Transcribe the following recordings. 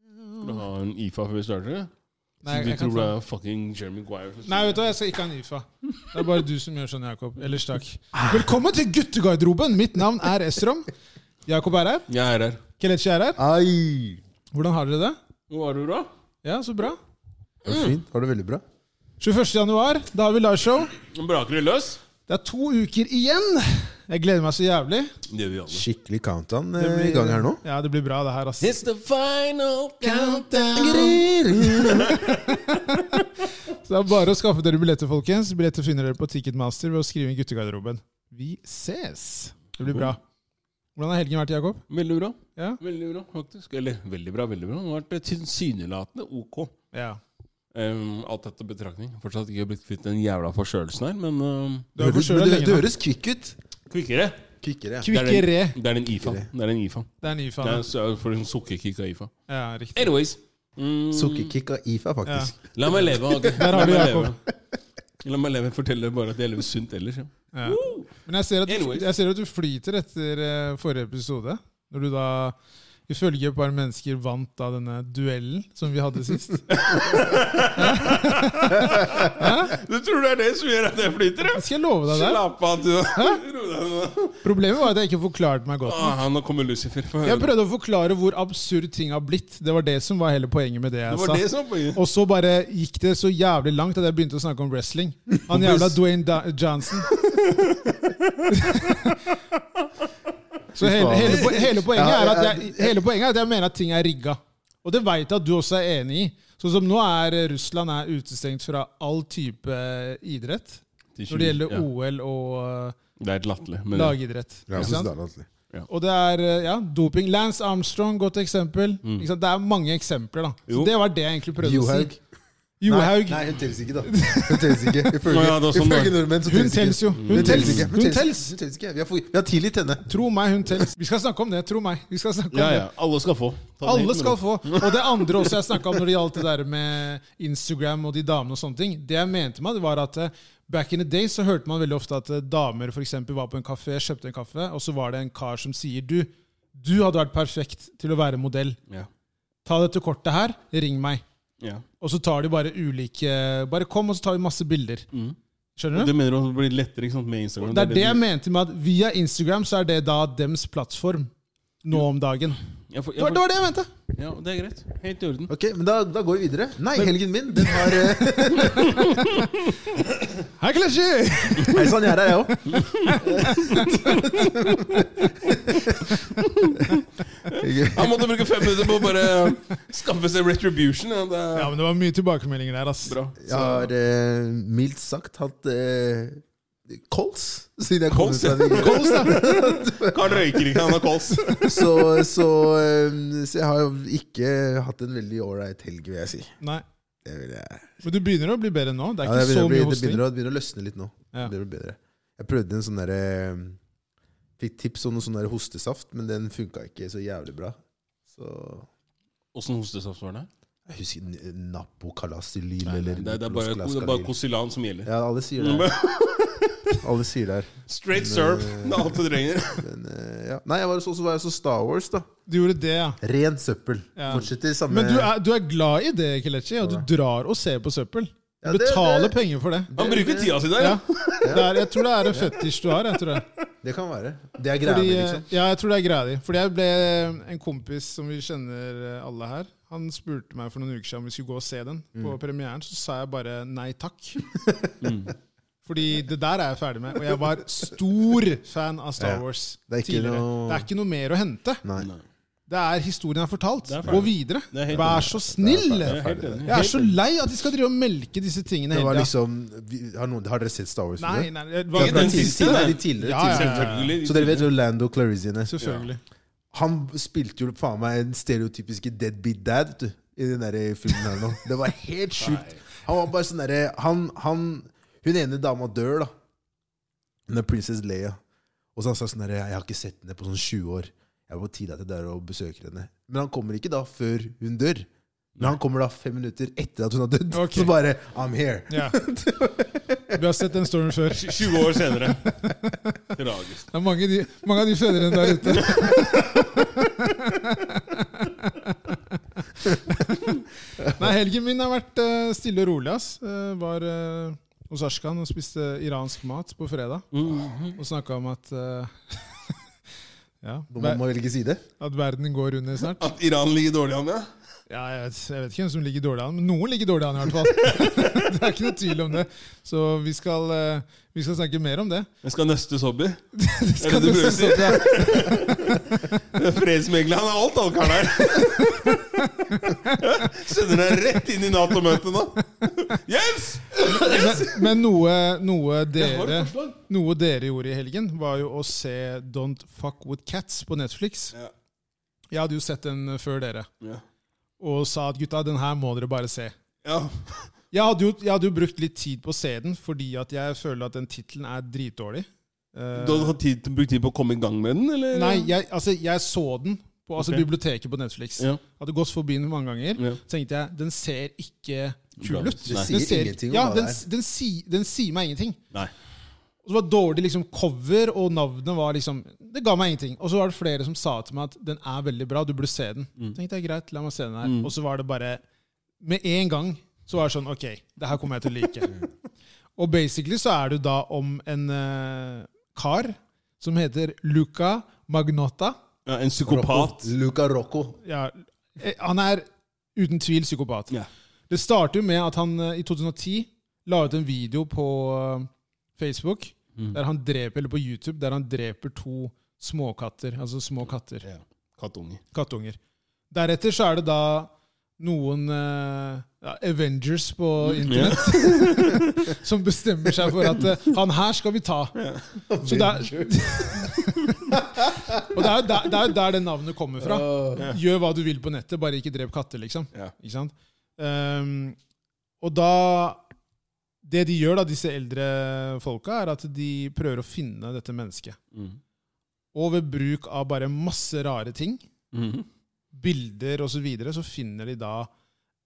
Skal du ha en IFA før vi starter? Nei, du jeg kan tror du ta- er fucking Jeremy Guire? Nei, vet du hva, jeg skal ikke ha en IFA. Det er bare du som gjør sånn, Jakob. Ellers takk. Ah. Velkommen til guttegarderoben! Mitt navn er Esrom. Jakob er her. Jeg er her. Kelechi er Ah. her. Ai! Hvordan har dere det? Hvor er du, da? Ja, så bra. Det var fint. Var det veldig bra? 21. januar, da har vi liveshow. Braker det løs? Det er to uker igjen. Jeg gleder meg så jævlig. Det gjør vi alle. Skikkelig countdown eh, i gang her nå. Ja, det blir bra, det her, ass. It's the final countdown. Grrr. Så det er bare å skaffe dere billetter, folkens. Billetter finner dere på Ticketmaster ved å skrive inn guttegarderoben. Vi ses! Det blir bra. Hvordan har helgen vært, Jakob? Veldig bra. Ja? Veldig bra, faktisk. Eller veldig bra, veldig bra. Det har vært eh, tilsynelatende ok. ja. Ehm, alt dette betraktning. Fortsatt ikke blitt kvitt den jævla forkjølelsen her, men ehm, Du har Høres- forkjøla men det, det lenge nå. høres kvikk ut. Kvikkere. Kvikkere, ja. Det er den- Kvikkere. Det er den IFA. Det er den IFA. Det er en ny Det er fan. så- for en sukkerkick av IFA. Ja, riktig. Anyways. Mm, Sukkerkick av IFA, faktisk. La meg leve. Hage. Der har La du meg Jakob. leve. La meg leve. Fortell dere bare at jeg lever sunt ellers. Ja. Ja. Men jeg ser, at du, Anyways. jeg ser at du flyter etter eh, forrige episode. Når du da ifølge et par mennesker vant da denne duellen som vi hadde sist. Du tror det er det som gjør at jeg flyter? Det skal jeg love deg der. Slapp av, du. Ro deg nå. Problemet var at jeg ikke forklarte meg godt. Ah, nå kommer Lucifer. Få Jeg høre. prøvde å forklare hvor absurd ting har blitt. Det var det som var hele poenget med det Det jeg var sa. det som var poenget. Og så bare gikk det så jævlig langt at jeg begynte å snakke om wrestling. Han jævla Dwayne da Johnson. så hele, hele, po- hele, poenget er at jeg, hele poenget er at jeg mener at ting er rigga. Og det veit jeg at du også er enig i. Sånn som nå er eh, Russland er utestengt fra all type eh, idrett. Når det gjelder Ja. OL og eh, Det er et latterlig. men- lagidrett. Ja, Ikke så altså. sant? snarlig. Og det er eh, ja, doping. Lance Armstrong, godt eksempel. Ikke sant? Det er mange eksempler. da. Jo. Så Det var det jeg egentlig prøvde å Mm. Johaug. si. Johaug. Nei, hun telles ikke, da. Hun telles ikke. Ifølge, Å, ja, det var sånn det var. ifølge nordmenn så Hun telles tels ikke. jo. Hun Hun telles ikke. Hun Hun telles tels. Hun telles ikke. Vi har, for- vi har tilgitt henne. Tro meg, hun tels. Vi skal snakke om det. Tro meg. Vi skal snakke om Ja, det. ja. Alle skal få. Ta det Alle helt med skal ro. få. Og det andre også jeg snakka om når det gjaldt det der med Instagram og de damene og sånne ting, det jeg mente med det, var at eh, back in the day så hørte man veldig ofte at eh, damer for eksempel var på en kafé, kjøpte en kaffe, og så var det en kar som sier du, du hadde vært perfekt til å være modell. Ja. Ta dette kortet her, ring meg. Ja. Og så tar de bare ulike Bare kom, og så tar vi masse bilder. Mm. Skjønner du? Det mener du også blir lettere ikke sant, med Instagram? Det er det jeg du- mente med at via Instagram så er det da dems plattform nå om dagen. Ja, for- Det ja, var, det for- var det jeg mente! ja, det er greit. Helt i orden. Ok, men da, da går vi videre. Nei, helgen min, den har eh, Hei, Kleshi! Hei sann, jeg er her, jeg òg. Han måtte bruke fem minutter på å bare skaffe seg retribution. Ja, det er Ja, men det var mye tilbakemeldinger der, ass. bra. Jeg har eh, mildt sagt hatt eh, kols siden jeg kom Kols, ut av det. Kols, da! Karl røyker ikke, han har kols. Så, så, eh, så jeg har jo ikke hatt en veldig ålreit helg, vil jeg si. Nei. Det vil jeg. Men du begynner å bli bedre nå. Det er Ja, ikke det, begynner, så å bli- mye det, hosting. begynner å, det begynner å løsne litt nå. Ja. Det blir bedre. Jeg prøvde en sånn derre Fikk tips om noe sånn der hostesaft, men den funka ikke så jævlig bra. Så Åssen hostesaft var det? Jeg husker n- Napokalasilyn Nei, eller nei, Det er, det er bare, det er bare Diploscalascalyl. Kosilan som gjelder. Ja, alle sier det. her. Alle sier det her. Straight serve. Det er alt du trenger. Men, eh, ja. Nei, jeg var så, så var jeg så Star Wars, da. Du gjorde det, ja. Ren søppel. Ja. Fortsetter i samme Men du er, du er glad i det, Kelechi, og du drar og ser på søppel. Du Ja, det- betaler det- penger for det. Han bruker tida si der, Ja. ja. Det er, jeg tror det er en fetisj du har. Jeg tror, det. Det kan være. Det er greia Fordi, mi, eh, liksom. ja, jeg tror det er greia di. Fordi jeg ble en kompis som vi kjenner eh, alle her. Han spurte meg for noen uker siden om vi skulle gå og se den Mm. på premieren. Så sa jeg bare nei takk. Fordi det der er jeg ferdig med. Og jeg var stor fan av Star Ja. Wars Det er ikke tidligere. noe- Det er ikke noe mer å hente. Nei. Det er historien jeg har fortalt. Det er ferdig. Gå videre. Det er helt Vær så snill! Det Jeg er er ferdig. helt enig. Jeg er så lei at de skal drive og melke disse tingene Det var hele tida. liksom vi- Har, noen, har dere sett Star Wars? Nei, nei, det Det var er Den fra den tidlig- siste, det er nei. de tidligere, Ja, ja, tidligere. Selvfølgelig. Så dere vet jo Lando Clarizine. Selvfølgelig. Han spilte jo faen meg den stereotypiske deadbeat dad vet du, i den der filmen her nå. Det var helt sjukt. Han var bare sånn derre han, han Hun ene dama dør, da. Hun er prinsesse Leia. Og så han sa sånn derre Jeg har ikke sett henne på sånn 20 år. Jeg var på tide at jeg drar og besøker henne. Men han kommer ikke da før hun dør. Men han kommer da fem minutter etter at hun har dødd. Ok. Så bare I'm here. Ja. Vi har sett den storyen før. 20 år senere. Tragisk. Det er mange, de, mange av de fedrene der ute. Nei, helgen min har vært eh, stille og rolig, ass. Eh, var eh, hos Ashkan og spiste iransk mat på fredag. Og snakka om at eh, ja, Når man ver- må velge side. at verden går under snart. At Iran ligger dårlig an, ja? Ja, jeg vet, jeg vet ikke hvem som ligger dårlig an, men noen ligger dårlig an i hvert fall. det er ikke noe tvil om det. Så vi skal, eh, vi skal snakke mer om det. Jeg skal nøstes hobby. det Er det du prøver å si? ja. Fredsmegler, han er alt allkaren her. Sender deg rett inn i Nato-møtet nå. Jens! Men, men noe, noe, Jeg har dere, et forslag. noe dere gjorde i helgen, var jo å se Don't Fuck With Cats på Netflix. Ja. Jeg hadde jo sett den eh, før dere, Ja. og sa at gutta, den her må dere bare se. ja. Jeg hadde, jo, jeg hadde jo brukt litt tid på å se den, fordi at jeg føler at den tittelen er dritdårlig. Eh, Du har hatt tid, brukt tid på å komme i gang med den, eller? nei, jeg, altså, jeg så den på altså, Ok. biblioteket på Netflix. Ja. Hadde gått forbi den mange ganger. Ja. tenkte jeg, den ser ikke Bra. kul ut. Det sier Den ser- ingenting om ja, hva den, det den, si, den sier meg ingenting. Nei. Og så var det dårlig liksom, cover, og navnet var liksom Det ga meg ingenting. Og så var det flere som sa til meg at den er veldig bra, du burde se den. Tenkte jeg, greit, la meg se den her. Og så var det bare Med en gang så var det sånn Ok, det her kommer jeg til å like. og basically så er det da om en eh, kar som heter Luca Magnotta. Ja, en psykopat. Rocco. Luca Rocco. Ja, eh, han er uten tvil psykopat. Ja. Det starter jo med at han eh, i 2010 la ut en video på eh, Facebook der han dreper, eller på YouTube der han dreper to småkatter. Altså små katter. Ja. Kattunge. Kattunger. Deretter så er det da noen eh, ja, Avengers på internett som bestemmer seg for at eh, han her skal vi ta. Så det er, og det er jo der, det er jo der det navnet kommer fra. Gjør hva du vil på nettet, bare ikke drep katter, liksom. Ja. Ikke sant? Ehm, og da Det de gjør, da, disse eldre folka, er at de prøver å finne dette mennesket. Mhm. Og ved bruk av bare masse rare ting, Mhm. bilder osv., så, videre, så finner de da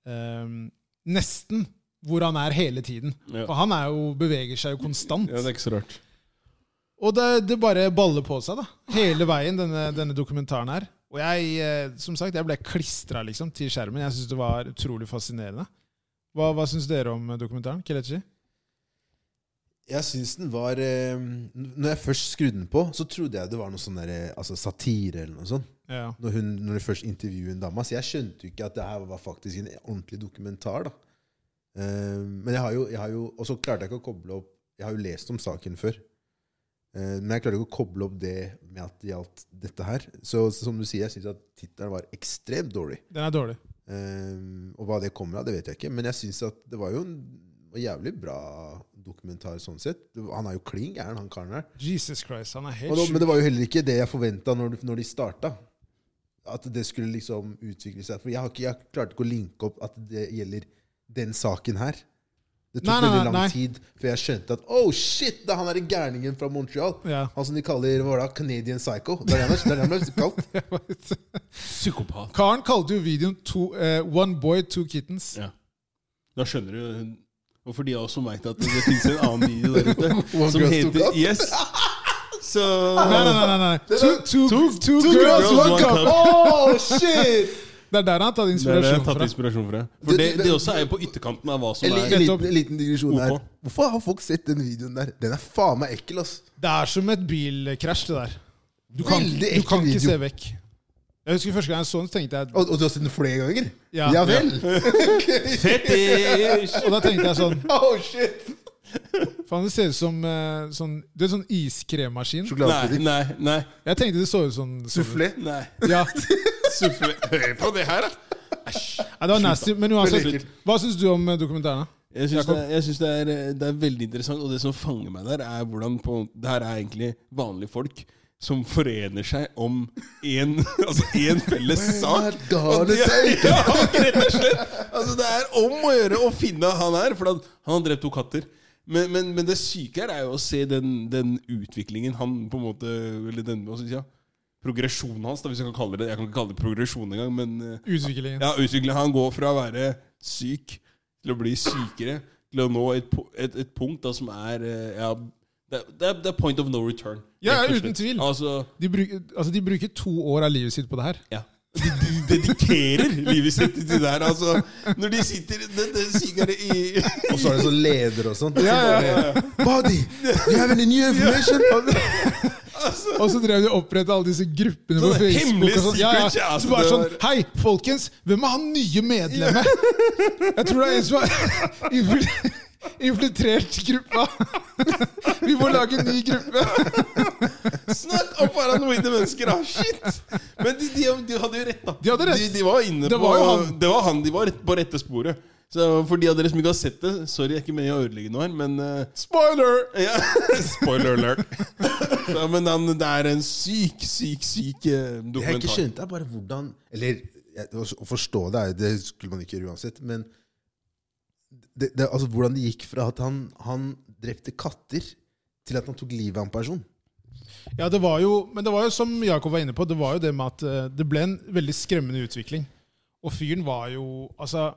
ehm, nesten hvor han er hele tiden. Ja. For han er jo, beveger seg jo konstant. ja, det er ikke så rart. Og det, det bare baller på seg da, hele veien, denne, denne dokumentaren her. Og jeg, eh, som sagt, jeg ble klistra liksom, til skjermen. Jeg syns det var utrolig fascinerende. Hva, hva syns dere om eh, dokumentaren? Kelechi? Jeg syns den var eh, Når jeg først skrudde den på, så trodde jeg det var noe sånn der, eh, altså satire eller noe sånt. Ja. Når, hun, når de først intervjuer en dame. Så jeg skjønte jo ikke at det her var faktisk en ordentlig dokumentar. da. Eh, men jeg har jo, jeg har jo Og så klarte jeg ikke å koble opp Jeg har jo lest om saken før. Eh, men jeg klarte ikke å koble opp det med at det gjaldt dette her. Så som du sier, jeg syns at tittelen var ekstremt dårlig. Den er dårlig. Eh, og hva det kommer av, det vet jeg ikke. Men jeg syns at det var jo en en jævlig bra dokumentar sånn sett. Det var- Han er jo klin gæren, han karen der. Jesus Christ, han er Og helt da, men sjuk. det var jo heller ikke det jeg forventa når, de- når de starta. At det skulle liksom utvikle seg. For jeg, har ikke, jeg klarte ikke å linke opp at det gjelder den saken her. Det tok Nei, nei, veldig nei, lang nei. tid før jeg skjønte at oh shit, det er han derre gærningen fra Montreal. Ja. Han som de kaller hva da, Canadian Psycho. Det er det han er- det er det han ble kalt. Psykopat. Karen kalte jo videoen to, eh, One Boy, Two Kittens. Ja. Da skjønner du hvorfor de av oss som veit at det fins en annen video der ute One som girl, two heter cup. Yes. Så Nei, nei, nei. nei, nei. Two, two, two, two girls, girls, one one cup. cup. Oh shit! Det er der han har tatt Det er det jeg inspirasjon har tatt fra. inspirasjon fra. For det, det også er jo på ytterkanten av hva som En, li- er en, liten, en liten digresjon her. Ok. Hvorfor har folk sett den videoen der? Den er faen meg ekkel, ass. Det er som et bilkrasj, det der. Du kan, Veldig du kan ikke ekkel video. se vekk. Jeg husker første gang jeg så den, så tenkte jeg Og, og du har sett den flere ganger? Ja. ja vel? Fetisj! Og da tenkte jeg sånn Oh shit! Faen, det ser ut som eh, sånn, du vet, sånn iskremmaskin. Nei, Sjokoladepudding. nei, nei. Jeg tenkte det så ut som Sufflé. nei. Ja, Suffle. Hør på det her, da! Æsj. Nei, det var nasty. Men uansett, Veldig ekkelt. hva syns du om eh, dokumentaren? da? Jeg syns, Jakob? det, jeg synes det, er, eh, det er veldig interessant, og det som fanger meg der, er hvordan på, det her er egentlig vanlige folk som forener seg om én altså en felles sak. God, Og de- it's eight. ja, rett og slett. Altså, det er om å gjøre å finne han her, for at han har drept to katter. Men, men, men det syke her er jo å se den, den utviklingen han på en måte Eller den hva skal jeg si, ja, progresjonen hans, da, hvis jeg kan kalle det Jeg kan ikke kalle det progresjon engang, men eh, Utviklingen. ja, utvikle han går fra å være syk til å bli sykere til å nå et, po- et, et punkt da, som er eh, ja, det, er- det, er, det er point of no return. Ja, rett og uten slett. tvil. Altså, De, bruk, altså, de bruker to år av livet sitt på det her. ja. De, de dedikerer livet sitt til det der. Altså, når de sitter den, den syke er i Og så er det sånn leder og sånn. Ja, ja. Buddy, do you have any new information? altså, Og så drev de og opprettet alle disse gruppene på Sånne Facebook. hemmelige Og sånn. ja, secret, ja. ja, Så altså, bare det sånn var- Hei, folkens! Hvem er han nye medlemmet? Jeg tror det er en som har infil- infiltrert gruppa. Vi må lage en ny gruppe. Snakk om paranoide mennesker, da! Shit! Men de, de, de hadde jo rett, da. De hadde rett. De, de var inne Det på var jo han. Det var han, De var rett på rette sporet. Så For de av dere som ikke har sett det Sorry, jeg er ikke med i å ødelegge noe her, men eh, Spoiler! ja. Spoiler alert. Så, men han, det er en syk, syk, syk eh, Det jeg ikke dokumentar. skjønte, er bare hvordan Eller jeg, å å forstå det, er- det skulle man ikke gjøre uansett, men det, det, altså, hvordan det gikk fra at han, han drepte katter, til at han tok livet av en person. Ja, det var jo, men det var jo som Jakob var inne på, det var jo det med at eh, det ble en veldig skremmende utvikling. Og fyren var jo Altså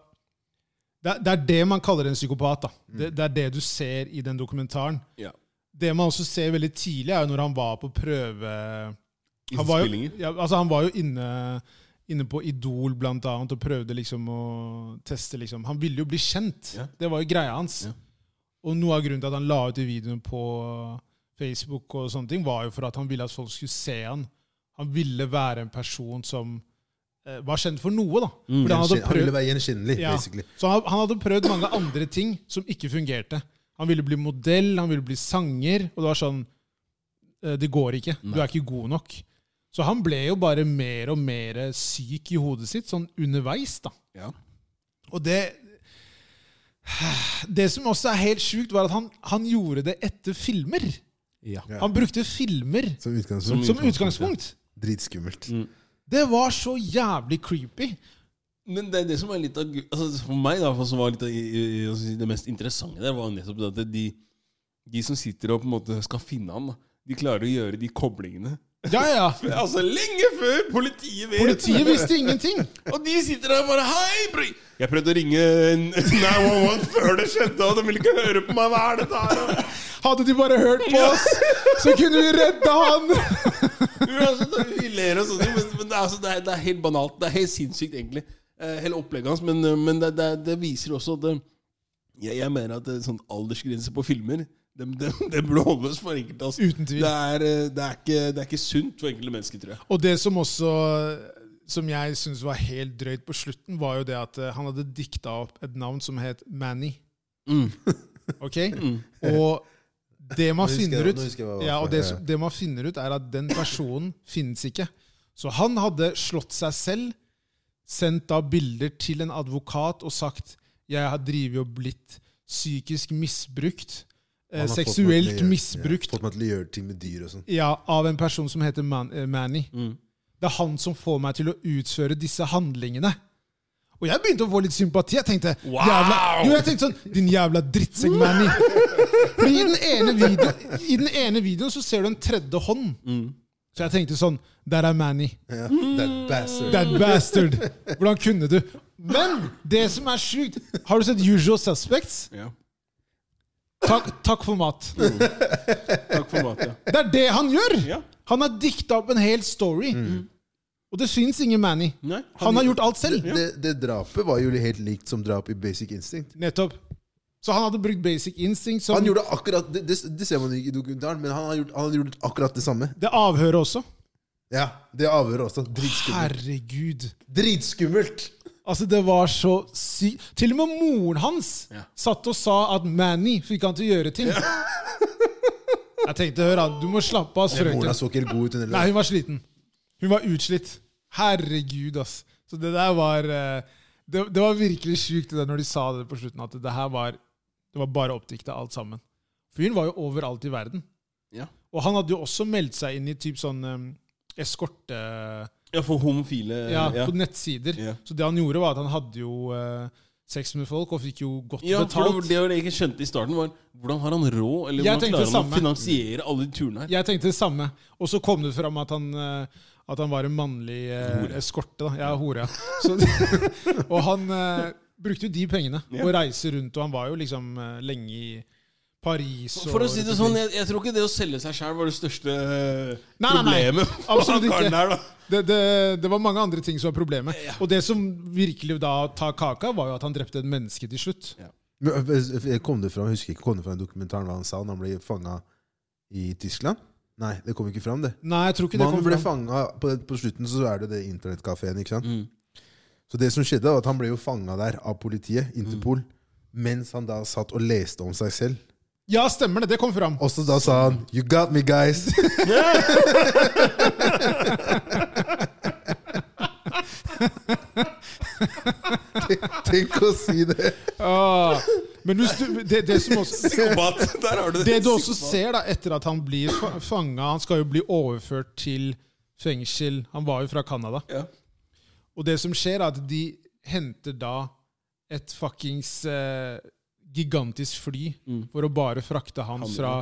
det, er- det er det man kaller en psykopat. da. Det, det er det du ser i den dokumentaren. Ja. Det man også ser veldig tidlig, er jo når han var på prøve... Han var jo, Innspillinger. ja, altså han var jo inne, inne på Idol blant annet, og prøvde liksom å teste liksom. Han ville jo bli kjent. Ja. Det var jo greia hans. Ja. Og noe av grunnen til at han la ut de videoene på Facebook, og sånne ting, var jo for at han ville at folk skulle se han. Han ville være en person som eh, var kjent for noe. da. Fordi han hadde Gjenkjen- Han ville prøvd være gjenkjennelig, ja. basically. Så han, han hadde prøvd mange andre ting som ikke fungerte. Han ville bli modell, han ville bli sanger, og det var sånn eh, Det går ikke. Du er ikke god nok. Så han ble jo bare mer og mer syk i hodet sitt, sånn underveis, da. Ja. Og det Det som også er helt sjukt, var at han, han gjorde det etter filmer. Ja. Han brukte filmer Som utgangspunkt. som Mm. utgangspunkt. Dritskummelt. Det var så jævlig creepy. Men det er det som er litt av gu- altså For meg, da, som var litt av, i- i- altså, det mest interessante der, var nettopp det at de, de som sitter og på en måte skal finne han, da, de klarer å gjøre de koblingene. Ja, ja. ja. Altså Lenge før politiet vet! Politiet visste ingenting. Og de sitter der og bare Hei, bro! Jeg prøvde å ringe 911 før det skjedde, og de ville ikke høre på meg. Hva er dette her? Og- Hadde de bare hørt på oss, så kunne vi redda han! Jo, altså, da- Vi ler og sånne ting, men, men det, er, altså, det, er, det er helt banalt. Det er helt sinnssykt, egentlig. Eh, hele opplegget hans. Men, eh, men det, det, det viser også at eh, jeg, jeg mener at eh, sånn aldersgrense på filmer det, det, det burde holdes for enkelte. Altså. Uten tvil. Det er, eh, det, er ikke, det er ikke sunt for enkelte mennesker, tror jeg. Og det som også som jeg syns var helt drøyt på slutten, var jo det at eh, han hadde dikta opp et navn som het Manny. Ok? Og det man Nå husker jeg- finner ut, nå husker jeg hva det var ja, for og det, noe, ja. som- det man finner ut, er at den personen finnes ikke. Så han hadde slått seg selv, sendt da bilder til en advokat og sagt jeg har drevet og blitt psykisk misbrukt, eh, Han har fått meg seksuelt til å gjøre- misbrukt Ja, fått meg til å gjøre ting med dyr og sånn. Ja, av en person som heter Man eh, Manny. Mm. Det er han som får meg til å utføre disse handlingene. Og jeg begynte å få litt sympati. Jeg tenkte Wow! jævla, jo, jeg tenkte sånn Din jævla drittsekk, Manny. Fordi i den, ene video, I den ene videoen så ser du en tredje hånd. Mm. Så jeg tenkte sånn Der er Manny. Ja. Mm. That bastard. That bastard. Hvordan kunne du? Men det som er sjukt Har du sett Usual Suspects? Takk, takk for mat. Takk for maten. Ja. Det er det han gjør! Ja. Han har dikta opp en hel story. Og det syns ingen Manny. Nei, Han har gjort alt selv. Det, det drapet var jo helt likt som drap i Basic Instinct. Nettopp. Så han hadde brukt basic instinct som Han gjorde akkurat Det, det, det ser man ikke i dokumentaren, men han har gjort, han har gjort akkurat det samme. det avhøret også. Ja, Det avhøret også. Dritskummelt. Herregud. Dritskummelt! Altså, det var så sykt. Til og med moren hans Ja. satt og sa at Manny fikk han til å gjøre ting. Jeg tenkte, hør han, du må slappe av, Moren frøken. hans så ikke helt god ut. hun heller. Nei, hun var sliten. Hun var utslitt. Herregud, ass. Så det der var eh, Det, det var virkelig sjukt det der når de sa det på slutten, at det her var Det var bare oppdikta alt sammen. Fyren var jo overalt i verden. Ja. Og han hadde jo også meldt seg inn i typ sånn eh, eskorte... ja, for homofile ja, Eh, ja. på nettsider. Ja. Så det han gjorde, var at han hadde jo eh, sex med folk, og fikk jo godt Ja, for betalt. det, det jeg ikke skjønte i starten, var hvordan har han råd? Eller Jeg hvordan tenkte klarer han det å finansiere alle de turene her? Jeg tenkte det samme. Og så kom det fram at han, eh, at han var en mannlig eh, eskorte. Da. Ja, hore. Ja. Så, og han eh, brukte jo de pengene Ja. og reise rundt, og han var jo liksom eh, lenge i Paris og For å si det sånn, jeg, jeg tror ikke det å selge seg sjæl var det største eh, Nei, nei, nei. problemet. på Absolutt han ikke. karen der, da. det, det, det var mange andre ting som var problemet. Og det som virkelig da tar kaka, var jo at han drepte et menneske til slutt. Men, øh, øh, Kom det fram, jeg husker ikke, kom det fram i dokumentaren hva han sa når han ble fanga i Tyskland? Nei, det kom ikke fram, det. Nei, jeg tror ikke det Mannen kom ble fram. Mm. fanga på, på slutten, så er det det internettkafeen, ikke sant? Så det som skjedde, var at han ble jo fanga der av politiet, Interpol, Mm. mens han da satt og leste om seg selv. Ja, stemmer det. Det kom fram. Og så da sa han 'You got me, guys'. Tenk å si det. Ah, men hvis du, det, det som også Psykopat. Der har du Det du også ser da, etter at han blir fa- fanga Han skal jo bli overført til fengsel. Han var jo fra Canada. Ja. Og det som skjer, er at de henter da et fuckings eh, gigantisk fly for å bare frakte han fra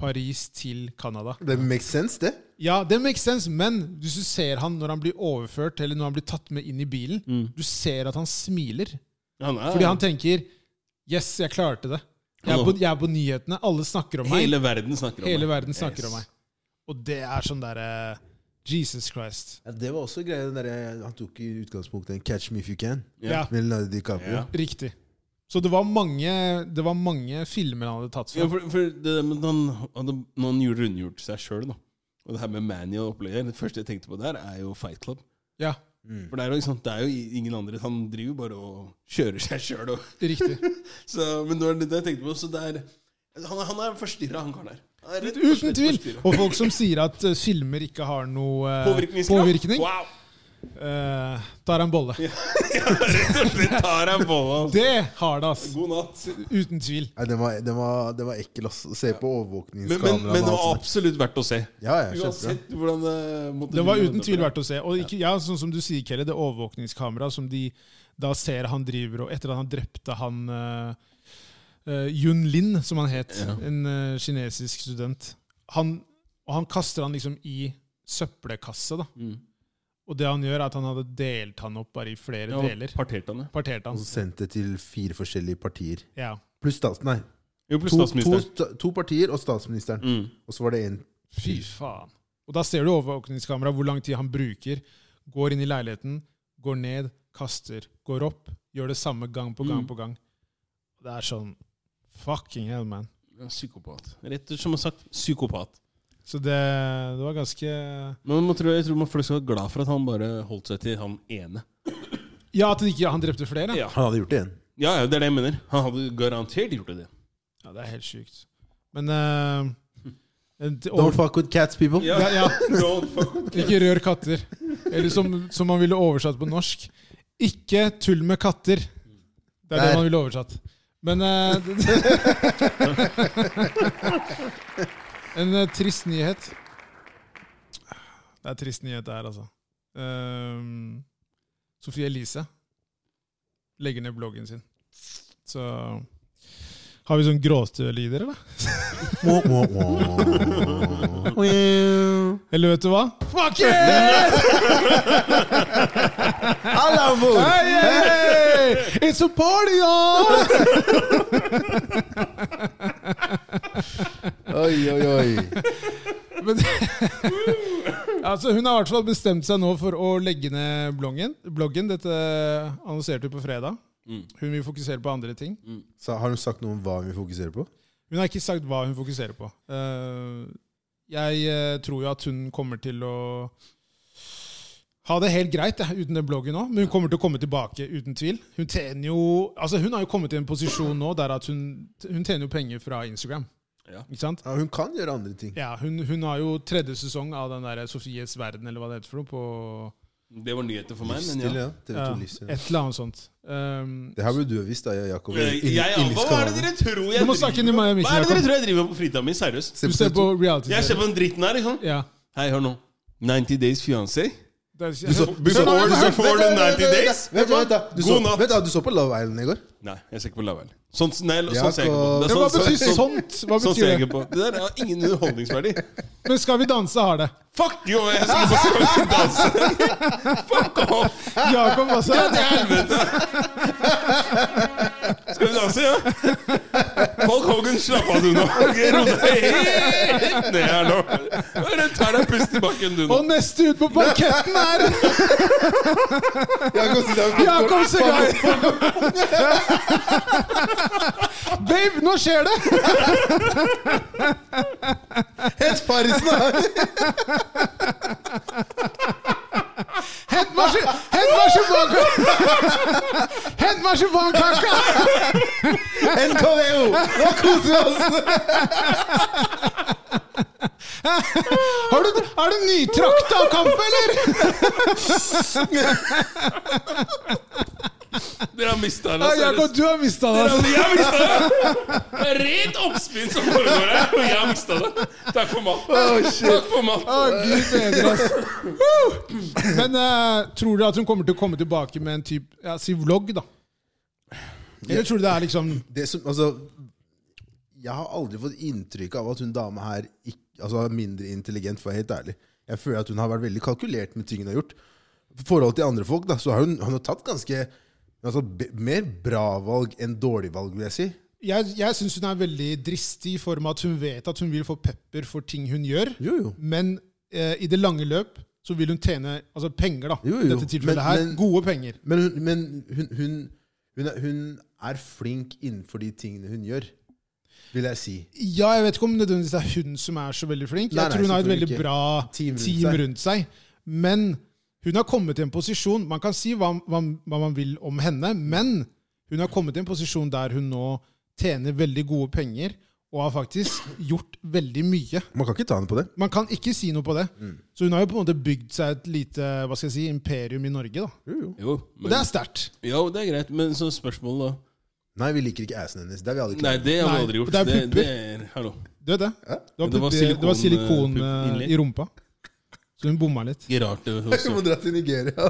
Paris til Canada. Det makes sense, det. Ja, det makes sense, men hvis du ser han når han blir overført, eller når han blir tatt med inn i bilen, du ser at han smiler. Han er, Fordi han tenker Yes, jeg klarte det. Jeg er på, jeg er på nyhetene. Alle snakker om meg. Hele verden snakker om Hele meg. verden snakker Yes. om meg. Og det er sånn derre Jesus Christ. Ja, det var også greia, den derre- Han tok i utgangspunktet en 'Catch me if you can'. Ja, Med Leonardo DiCaprio. Ja. riktig. Så det var mange, det var mange filmer han hadde tatt Ja, fra. for, for det, der med at han, han, når han gjorde rundgjort seg sjøl, da. Og det her med Manny og opplegget. Det første jeg tenkte på der, er jo Fight Club. Ja, Mm. For det er jo, ikke sant, det er jo ingen andre. Han driver jo bare og kjører seg sjøl. riktig. Men det var det jeg tenkte på. Så det er Han, er- han er forstyrra, han karen der. Han er rett og Uten slett tvil! forstyrret. Og folk som sier at eh, filmer ikke har noe eh, Påvirkningskraft. påvirkning, Wow! eh, tar en bolle. Ja, rett og slett tar jeg bolla. altså. Det har det, ass. God natt. Uten tvil. Nei, den, var, den, var, den var ekkel, ass. Å se på Men, men, overvåkningskameraet. men det var absolutt verdt å se. Ja, ja, kjempebra. Uansett hvordan det måtte Det var bli. uten tvil verdt å se. Og ikke, ja, sånn som du sier, Kelle, det overvåkningskameraet som de da ser han driver og Etter at han drepte han eh, eh, Yun Lin, som han het, en eh, kinesisk student han, Og han kaster han liksom i søppelkasse, da. Mm. Og det han gjør, er at han hadde delt han opp bare i flere Ja, deler. parterte han det? Partert han. Og så sendte det til fire forskjellige partier. Ja. Pluss stats... Nei. Jo, pluss To, to, statsministeren. Mm. sta- to partier og statsministeren. Og så var det en Fy faen. Og da ser du overvåkningskameraet, hvor lang tid han bruker. Går inn i leiligheten, går ned, kaster, går opp. Gjør det samme gang på gang på gang. Det er sånn fucking hell, man. Ja, Psykopat. Rett ut som jeg har sagt, psykopat. Så det, det var ganske Men man tror, jeg tror man folk skal være glad for at han bare holdt seg til han ene. Ja, at han ikke, han drepte flere? Ja. Han hadde gjort det igjen. Ja, ja, det er det jeg mener. Han hadde garantert gjort det. Ja, det er helt sjukt. Men eh, en- Don't fuck with cats, people. Ja. ja, ja, Don't fuck. Ikke rør katter. Eller som, som man ville oversatt på norsk Ikke tull med katter. Det er det Der. man ville oversatt. Men eh, En eh, trist nyhet. Det er trist nyhet, det her, altså. Um, Sofie Elise legger ned bloggen sin. Så Har vi sånn gråtelyder, eller? Mwah, mwah, mwah. Eller vet du hva? Fuck it! Alla mot! Hey, hey, hey! It's a party on! Oi, oi, oi. Men, altså, hun har i hvert fall bestemt seg nå for å legge ned bloggen. bloggen. Dette annonserte hun på fredag. Hun vil fokusere på andre ting. Så har hun sagt noe om hva vi fokuserer på? Hun har ikke sagt hva hun fokuserer på. Eh, jeg eh, tror jo at hun kommer til å ha det helt greit eh, uten den bloggen nå, men hun kommer til å komme tilbake, uten tvil. Hun tjener jo Altså, hun har jo kommet i en posisjon nå der at hun, hun tjener jo penger fra Instagram. Ja. Ikke sant? Ja, hun kan gjøre andre ting. Ja, hun, hun har jo tredje sesong av den der Sofies verden, eller hva det heter for noe, på Det var nyheter for meg, men Livsstil, ja. ja. TV2 ja, Livsstil. et eller annet sånt. Um, Det her burde du ha visst, da, Jakob. Jeg, Eh, jeg, hva er det dere tror jeg Du må snakke inn i driver meg, med? Hva er det Jakob. dere tror jeg driver med på fritida mi? Seriøst. du ser på reality Jeg ser på den dritten her, liksom. Ja. Hei, hør nå. 90 Days Fiancé. Det er- Before, before the 90 Days. Vent, vent, da. Du, så, God natt. vent da, du så på Love Island i går? Nei, jeg ser ikke på Lavell. Sånn, nei, sånn Jakob. ser jeg ikke på. Det er Ja, hva sånn, sånn, betyr sånn, sånt? Hva sånn ser betyr jeg det? ikke på. Det der har ingen underholdningsverdi. Men Skal vi danse har det. Fuck you, jeg skal ikke på Skal vi danse! Fuck off! Jakob også. Helvete! Skal vi danse, ja? Paul Hogan Slapp av, du nå. Ok, Ro deg helt ned her nå. Bare ta deg en pust i bakken, du nå. Og neste ut på parketten er Jakob Segal! Babe, nå skjer det! Helt Farrisen her! Hent meg sj- hent meg sjibankaka! Hent meg sjibankaka! NKVO! Nå koser vi oss! Har du, har du nytrakta kamp, eller? Dere har mista Ja, det. altså. Jakob, du har mista det. altså. Jeg har mista det! Det er rent oppspinn som foregår her, og jeg har mista det. Takk for maten. Takk for Å, maten. Gud bedre, ass. Woo! Men eh, tror dere at hun kommer til å komme tilbake med en type, ja, si vlogg, da? Eller tror du det er liksom Det som, altså, jeg har aldri fått inntrykk av at hun dama her ikke, altså, er mindre intelligent, for å være helt ærlig. Jeg føler at hun har vært veldig kalkulert med ting hun har gjort. I forhold til andre folk da, så har hun, hun har tatt ganske altså, be, mer bra valg enn dårlig valg, vil jeg si. Jeg, jeg syns hun er veldig dristig i form av at hun vet at hun vil få pepper for ting hun gjør, Jo, jo. men eh, i det lange løp så vil hun tjene altså penger, da. Jo, I jo. dette tilfellet Men- her. men- Gode penger. Men, hun, men hun, hun, hun, er, hun er flink innenfor de tingene hun gjør, vil jeg si. Ja, jeg vet ikke om nødvendigvis det er hun som er så veldig flink. Jeg Nei, nei, tror hun har et selvfølgelig veldig ikke. bra Team team rundt rundt, seg. seg. Men hun har kommet i en posisjon Man kan si hva, hva, hva man vil om henne, men hun har kommet i en posisjon der hun nå tjener veldig gode penger og har faktisk gjort veldig mye. Man kan ikke ta henne på det. Man kan ikke si noe på det. Så hun har jo på en måte bygd seg et lite hva skal jeg si, imperium i Norge. da. Jo, Og det er sterkt. jo, det er greit, men så spørsmålet, da. Nei, vi liker ikke assen hennes. Det har vi aldri Nei, klart. det har vi Nei, aldri gjort. det er Det, pupper. det er, hallo. Du vet det? Du har Men det var putt i- det var silikon, silikon eh, eh, pupp i rumpa. Så hun bomma litt. Ikke rart det Du også. må dra til Nigeria.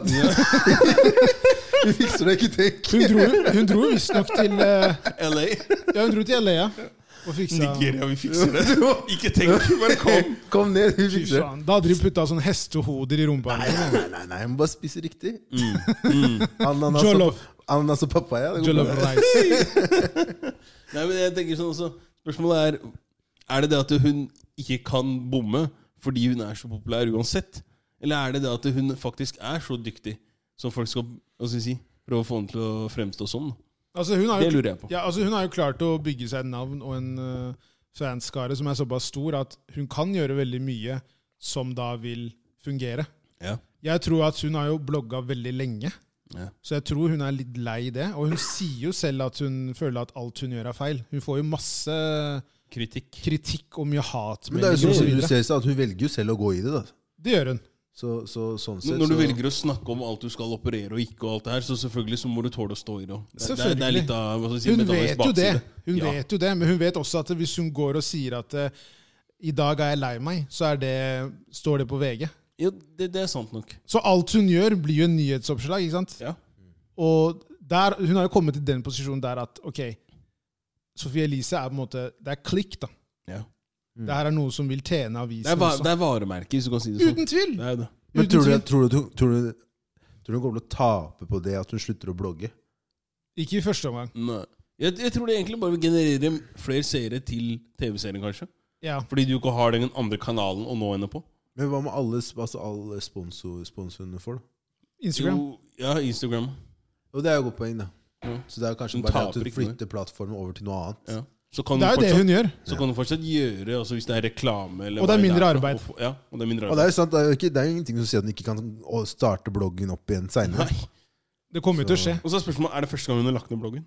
Vi fikser det, ikke tenk. Hun dro, hun dro visstnok til eh, LA. Ja, hun dro til LA ja, og fiksa Nigeria, vi fikser det. Ikke tenk, bare kom. Kom ned, vi Fy fikser det. faen, Da hadde de putta sånn hestehoder i rumpa. Nei, nei, nei, nei, jeg må bare spise riktig. Ananas, og, Jollof. ananas og papaya. Det går Jollof bra. rice. Nei, men jeg tenker sånn også Spørsmålet er Er det det at hun ikke kan bomme fordi hun er så populær uansett? Eller er det det at hun faktisk er så dyktig som folk skal hva skal jeg si, prøve å få henne til å fremstå sånn? Altså, hun har Det jo, lurer jeg på. ja, altså, hun har jo klart å bygge seg et navn og en eh, fanskare som er såpass stor at hun kan gjøre veldig mye som da vil fungere. Ja. Jeg tror at hun har jo blogga veldig lenge, Ja. så jeg tror hun er litt lei det. Og hun sier jo selv at hun føler at alt hun gjør, er feil. Hun får jo masse Kritikk. kritikk og mye hat. Men det er jo sånn og så som du videre. ser seg, at hun velger jo selv å gå i det, da. Det gjør hun. Så, så sånn sett Når du så, velger å snakke om alt du skal operere og ikke, og alt det her, så selvfølgelig så må du tåle å stå i det. også. Det, det, er- det er litt av hva skal jeg si, Hun medaljens vet jo det, bakside. hun Ja. vet jo det, men hun vet også at hvis hun går og sier at eh, i dag er jeg lei meg, så er det, står det på VG. Ja, det, det er sant nok. Så alt hun gjør, blir jo en nyhetsoppslag. ikke sant? Ja. Og der, hun har jo kommet i den posisjonen der at ok, Sophie Elise er på en måte Det er klikk, da. Ja. Mm. Det her er noe som vil tjene Det, er, avisen va- også. det er varemerker, hvis du kan si det sånn. Uten tvil! Det er jo det. Men Uten tror du, tvil. tror, du, tror, du, tror du hun kommer til å tape på det at hun slutter å blogge? Ikke i første omgang. Nei. Jeg, jeg tror det egentlig bare vil generere flere seere til TV-serien, kanskje. Ja. Fordi du ikke har den andre kanalen å nå henne på. Men hva med alle, sp- altså alle sponsor, sponsorene for, da? Instagram. Jo, ja, Instagram. Og det er jo godt poeng, da. Ja. Så det er jo kanskje Hun bare det at taper hun ikke noe. flytter plattformen over til noe annet. Ja. Så kan Det er du jo det fortsatt, hun gjør. Så kan du fortsatt gjøre altså hvis det er reklame eller Og det er hva mindre for arbeid. å få- Ja, og det er mindre Og arbeid. det er jo sant, det er jo, ikke, det er jo ingenting som sier at hun ikke kan å, starte bloggen opp igjen seinere. Nei. Det kommer jo til å Så- skje. Og så er spørsmålet er det første gang hun har lagt ned bloggen.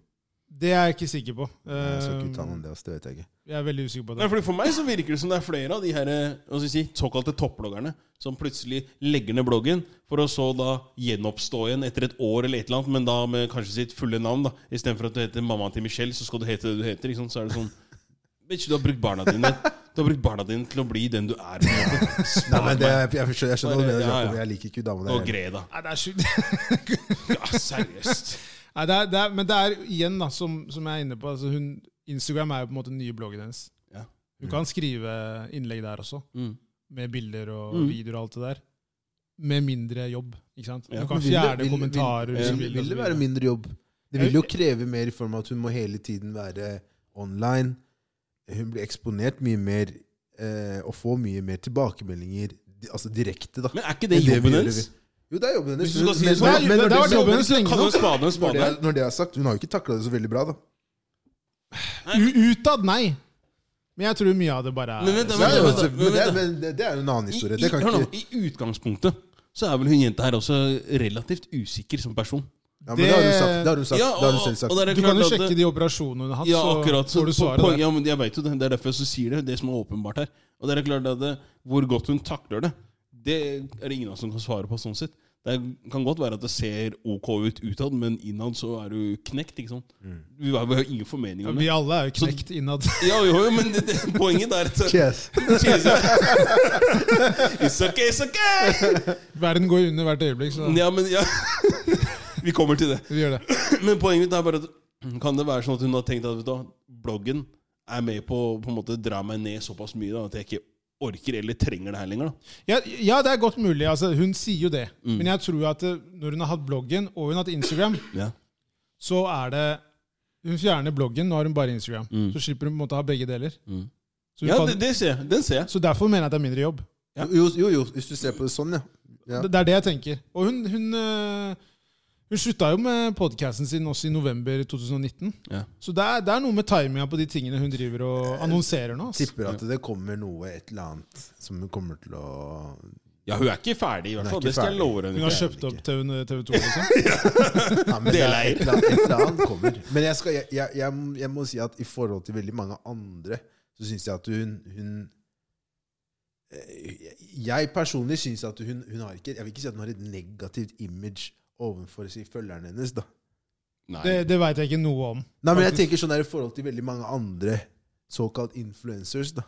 Det er jeg ikke sikker på. Jeg skal ikke uttale Eh, meg om det, ass, det vet jeg ikke. Jeg er veldig usikker på det. Nei, fordi For meg så virker det som det er flere av de her, eh, hva skal jeg si, såkalte topploggerne som plutselig legger ned bloggen, for å så da gjenoppstå igjen etter et år eller et eller annet, men da med kanskje sitt fulle navn. da Istedenfor at du heter mammaen til Michelle, så skal du hete det du heter. Ikke sant? Så er det sånn Bitch, du har brukt barna dine Du har brukt barna dine til å bli den du er. på en måte. Nei, Spar men det, meg jeg, jeg skjønner, jeg skjønner hva du mener, Ja, ja. Jakob. Jeg liker ikke hun dama der. og heller. Greta. Nei, det er sjukt. Ja, seriøst. Nei, det er, det er, men det er igjen, da, som, som jeg er inne på altså hun, Instagram er jo på en måte den nye bloggen hennes. Ja. Hun kan skrive innlegg der også, Mm. med bilder og Mm. videoer og alt det der. Med mindre jobb. ikke sant? Ja. Hun kan Men vil det- fjerne vil- vil- kommentarer. hvis Vil, hun vil, og så det videre. være mindre jobb? Det vil jo kreve mer i form av at hun må hele tiden være online. hun blir eksponert mye mer eh, og får mye mer tilbakemeldinger di- altså direkte. da. Men er ikke det Enn vi jobben gjør, hennes? vi- Jo, det er jobben hennes. Hvis du skal si Men- det sånn, men- men når det har vært det- jobben hennes lenge Kall nok. en spade en når det spade. er- Når det er sagt, hun har jo ikke takla det så veldig bra, da. U- Utad, nei. Men jeg tror mye av det bare Men er vent da, Ja, vent da, ja, vent da, men, det, vent da. men det, det er jo en annen historie. I, Det i, kan hør nå, ikke, I utgangspunktet så er vel hun jenta her også relativt usikker som person. ja, men det har hun det- sagt. Det har hun, sagt, Ja, det har hun selv og- sagt. og det er Du kan jo klart at- sjekke de operasjonene hun har hatt, Ja, akkurat. så Så får du po- svaret. poen- der. ja, men jeg vet jo det. Det er derfor jeg så sier det. Det som er åpenbart her. Og det er klart at det, Hvor godt hun takler det, det er det ingen av oss som kan svare på. sånn sett. Det er- kan godt være at det ser ok ut utad, men innad så er du knekt. ikke sant? Vi har, vi har ingen formening Mm. Ja, om Vi det. alle er jo knekt innad. Ja, jo, jo, men det, det, poenget der at- Yes. It's okay, it's okay! Verden går under hvert øyeblikk, så Ja, men ja. Vi kommer til det. vi gjør det. Men poenget mitt er bare at kan det være sånn at hun har tenkt at vet du, hva, bloggen er med på å på en måte dra meg ned såpass mye da, at jeg ikke orker eller trenger det her lenger? da. Ja, ja, det er godt mulig. Altså, hun sier jo det. Mm. Men jeg tror at eh, når hun har hatt bloggen og hun har hatt Instagram, så er det Hun fjerner bloggen, nå har hun bare Instagram. Så slipper hun på en måte å ha begge deler. Mm. Så, hun Ja, kan, det, det ser jeg. Den ser jeg. så derfor mener jeg at det er mindre jobb. Ja. Jo, jo, jo, hvis du ser på det sånn, ja. ja. Det, det er det jeg tenker. Og hun, hun, eh, hun slutta jo med podkasten sin også i november 2019. Ja. Så det er, det er noe med timinga på de tingene hun driver og annonserer nå. ass. Tipper at det kommer noe, et eller annet, som hun kommer til å ja, hun er ikke ferdig, i hvert Hun er fall. ikke Det skal jeg ferdig. love Hun henne. har kjøpt opp TV2. Liksom. ja, men det er Deleier. et, eller annet, et eller annet kommer. Men jeg, skal, jeg, jeg, jeg, jeg må si at i forhold til veldig mange andre, så syns jeg at hun, hun eh, Jeg personlig syns at hun, hun har ikke Jeg vil ikke si at hun har et negativt image overfor si, følgerne hennes, da. Nei. Det, det veit jeg ikke noe om. Nei, men jeg tenker sånn der i forhold til veldig mange andre såkalt influencers, da.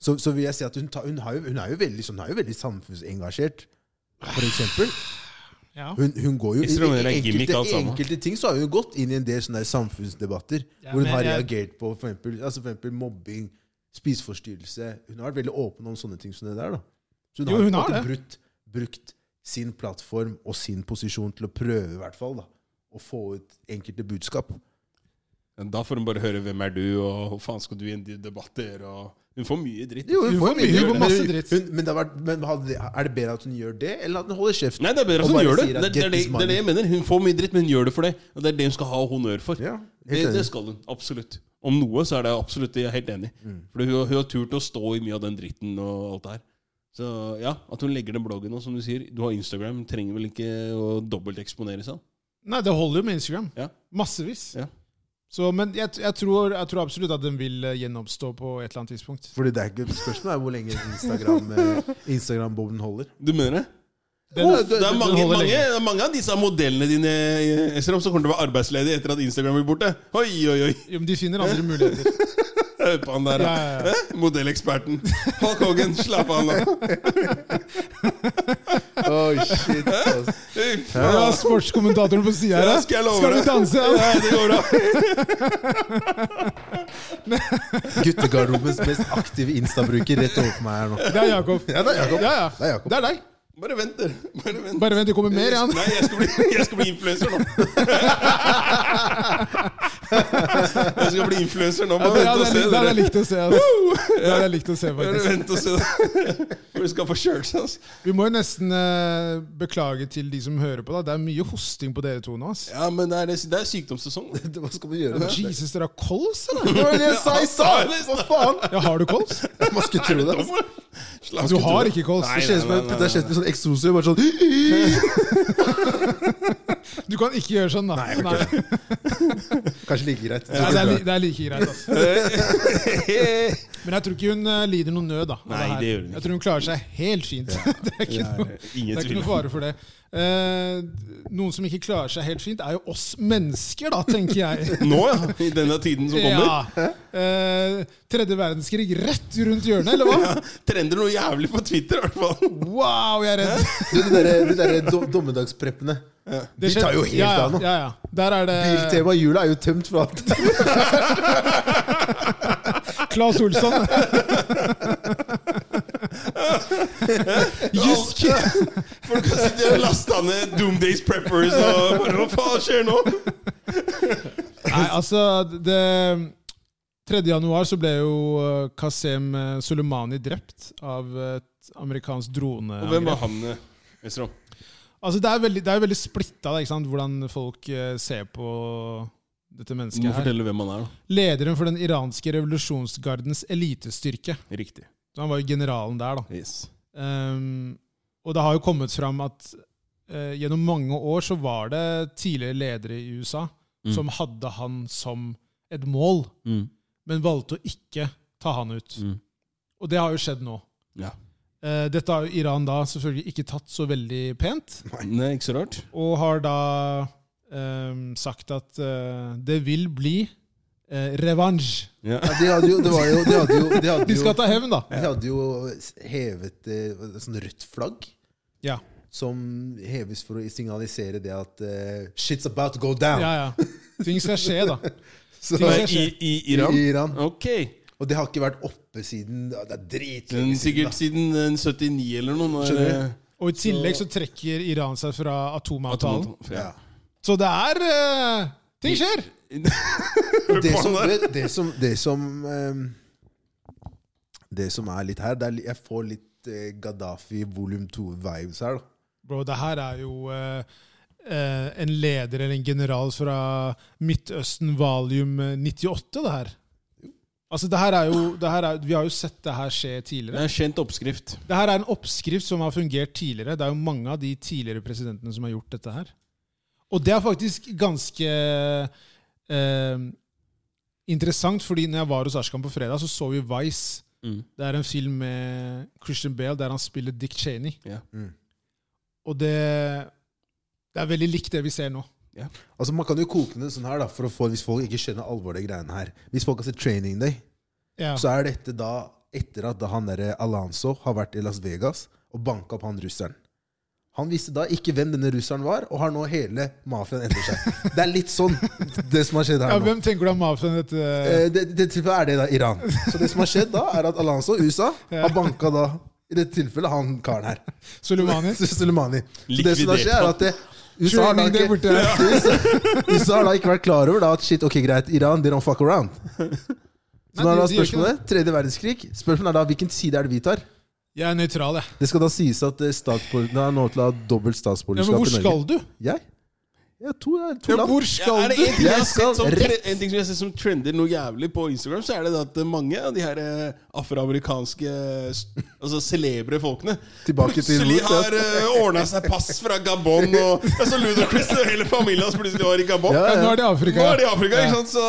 Så, så vil jeg si at hun, ta, hun, har jo, hun, er jo veldig, sånn, hun er jo veldig samfunnsengasjert, for eksempel. Ja. Hun, hun går jo Jeg tror i, det er i, gimmick, enkelte, alt I sammen. enkelte ting så har hun jo gått inn i en del sånne der samfunnsdebatter Ja, hvor hun men har jeg- reagert på for eksempel, altså for eksempel mobbing, spiseforstyrrelse Hun har vært veldig åpen om sånne ting som det der. da. Så Jo, hun har, hun på en har måte brukt, brukt sin plattform og sin posisjon til å prøve, i hvert fall, da, å få ut enkelte budskap. Da får hun bare høre 'Hvem er du?' og 'Hva faen skal du i en debatt gjøre?' og Hun får mye dritt. Jo, Hun får mye, hun får men masse dritt. Hun, men det har vært, men hadde, er det bedre at hun gjør det, eller at hun holder kjeft? Nei, det er bedre Og at hun bare gjør det. sier Det at er, det, er get det, this det er det jeg mener. Hun får mye dritt, men hun gjør det for det. Og det er det hun skal ha honnør for. Ja, det, helt det enig. skal hun. Absolutt. Om noe så er det absolutt det jeg er helt enig i. Mm. For hun, hun har turt å stå i mye av den dritten og alt det her. Så ja, at hun legger den bloggen og som du sier, du har Instagram, trenger vel ikke å dobbelteksponere seg? Nei, det holder jo med Instagram. Ja. Massevis. Ja. Så, men jeg, jeg, tror, jeg tror absolutt at den vil eh, gjenoppstå på et eller annet tidspunkt. Fordi det er ikke spørsmålet er hvor lenge Instagram, eh, Instagram-boblen holder. Du mener det? Den- Uff, Oh, det, den- er den mange, holder mange, lenge. det er mange av disse modellene dine eh, Esrom, som kommer til å være arbeidsledige etter at Instagram blir borte. Oi, oi, oi. Jo, men de finner andre muligheter. Hør på han der, Ja, da. ja, ja. Eh, Modelleksperten. Hulk Hogan, slapp av nå. Oh, shit, ass. Fy Ja, faen. sportskommentatoren på sida her. Ja, ja. skal jeg love Skal du deg. danse? Ja. Nei, det går bra. Guttegarderobens mest aktive Insta-bruker rett overfor meg her nå. Det er Jakob. Ja, det er Jakob. Ja, ja. Det er Jakob. Det er deg. Bare vent, dere. Bare vent. Bare vent, det kommer mer. Jan. Nei, jeg skal bli, jeg skal bli influenser nå. Jeg skal bli influenser nå. Ja, Bare det, ja, vent det, og er, se, likt- dere. det er likt å se. Altså. Det er likt å se Bare faktisk. vent og se. dere. For du skal få kjørt seg, altså. Vi må jo nesten eh, beklage til de som hører på. da. Det er mye hosting på dere to nå. ass. Ja, men det er, det er sykdomssesong. da. Hva skal man gjøre? da? Jesus, dere har kols, eller? Det var det jeg sa i stad! Hva faen? Ja, har du kols? Man skulle tro det. ass. Slapp Du ikke har tro. ikke kols. Nei, Det kjennes som nei, en- nei, det kjennes som en sånn eksoser. Bare sånn Du kan ikke gjøre sånn, da. Nei, Kanskje like greit. Ja, det, er, li- det er like greit. ass. nei. Men jeg tror ikke hun eh, lider noen nød. da. av Nei, her. det gjør hun ikke. Jeg tror hun klarer seg helt fint. Det er ikke noe Ingen Det er ikke tvil. noe fare for det. Eh, noen som ikke klarer seg helt fint, er jo oss mennesker, da, tenker jeg. Nå, ja. I denne tiden som kommer. Ja. Eh, tredje verdenskrig rett rundt hjørnet, eller hva? Trender noe jævlig på Twitter, i hvert fall. Wow, jeg er redd. Du, De derre der do- dommedagspreppene. De tar jo helt ja, ja, av nå. Ja, ja. Der er det Biltema jula er jo tømt for alt. Claes Olsson. Jysk! Folk har sittet og lasta ned Doomdays Preppers og bare Hva faen skjer nå? Nei, altså det 3. januar så ble jo eh, Qasem eh, Soleimani drept av et amerikansk Og hvem var droneangrep. han, eh, Westerom? Altså, det er veldig, det er veldig splitta da, ikke sant, hvordan folk eh, ser på dette Du må mennesket her. fortelle hvem han er, da. Lederen for den iranske revolusjonsgardens elitestyrke. Riktig. Så han var jo generalen der, da. Yes. Ehm, og det har jo kommet fram at eh, gjennom mange år så var det tidligere ledere i USA Mm. som hadde han som et mål, Mm. men valgte å ikke ta han ut. Mm. Og det har jo skjedd nå. Ja. Eh, dette har jo Iran da selvfølgelig ikke tatt så veldig pent, Det er ikke så rart. og har da ehm, sagt at eh, det vil bli eh, revansj. Ja. Ja, de hadde jo, det var jo, de hadde jo, de hadde De jo, skal ta hevn, da. de hadde jo hevet eh, sånn rødt flagg. Ja, Som heves for å signalisere det at eh, shit's about to go down. ja. ja. Ting skal skje, da. Så, Ting Nei, I, skal skje. I Iran? I Iran. Ok. Og det har ikke vært oppe siden ja, Det er dritlenge Den, siden. sikkert da. siden eh, 79 eller noe. Når, Skjønner du? eh, Og i tillegg så trekker Iran seg fra atomavtalen. atomavtalen- Ja. Ja. Så det er eh, Ting skjer! Og Det som, det, det som, det som, ehm, det som er litt her det er, li- Jeg får litt eh, Gaddafi volum 2-vibes her. da. Bro, det her er jo eh, eh, en leder eller en general fra Midtøsten valium 98, det her. Altså, det her er jo det her er, Vi har jo sett det her skje Det tidligere. er en kjent oppskrift. Det her er en oppskrift som har fungert tidligere. Det er jo mange av de tidligere presidentene som har gjort dette her. Og det er faktisk ganske eh, interessant, fordi når jeg var hos Ashkan på fredag, så så vi Vice. Mm. Det er en film med Christian Bale der han spiller Dick Cheney. Ja. Mm. Og det, det er veldig likt det vi ser nå. Altså Man kan jo koke ned sånn her da, for å få, hvis folk ikke skjønner alvoret i greiene her. Hvis folk har sett Training Day, Ja. så er dette da etter at da han der Alonso har vært i Las Vegas og banka opp han russeren. Han visste da ikke hvem denne russeren var, og har nå hele mafiaen etter seg. Det er litt sånn det som har skjedd her Ja, nå. hvem tenker du er mafiaen dette Eh, Det, det tilfellet er det da, Iran. Så det som har skjedd da, er at Alonso, USA, har banka da i dette tilfellet han karen her. Soleimani? Soleimani. Så det som da skjer, er at det, USA, har da Training Day ikke, borte. USA har da ikke vært klar over da, at shit, ok, greit, Iran, they don't fuck around. Så nå Nei, er de- da de gjør ikke spørsmålet tredje verdenskrig. Spørsmålet er da hvilken side er det vi tar? Jeg er nøytral, jeg. Det skal da sies at eh, statsborger- det er nå til å ha Ja, dobbelt men statsborgerskap hvor i skal Norge. du? Jeg? Jeg har to, jeg har to Ja, land. hvor Ja, skal er det du? en ting jeg har Jeg skal sett som, tre- rett. en ting som jeg har sett som trender noe jævlig på Instagram, så er det det at mange av de her eh, afroamerikanske eh, s- altså celebre folkene Tilbake til plutselig rot, ja. har uh, ordna seg pass fra Gabon. Og, ja, så Ludacris og hele familien hans plutselig var i Gabon. Ja, Ja, ja. nå er det Afrika. Nå er det i Afrika, Ja. ikke sant? Så,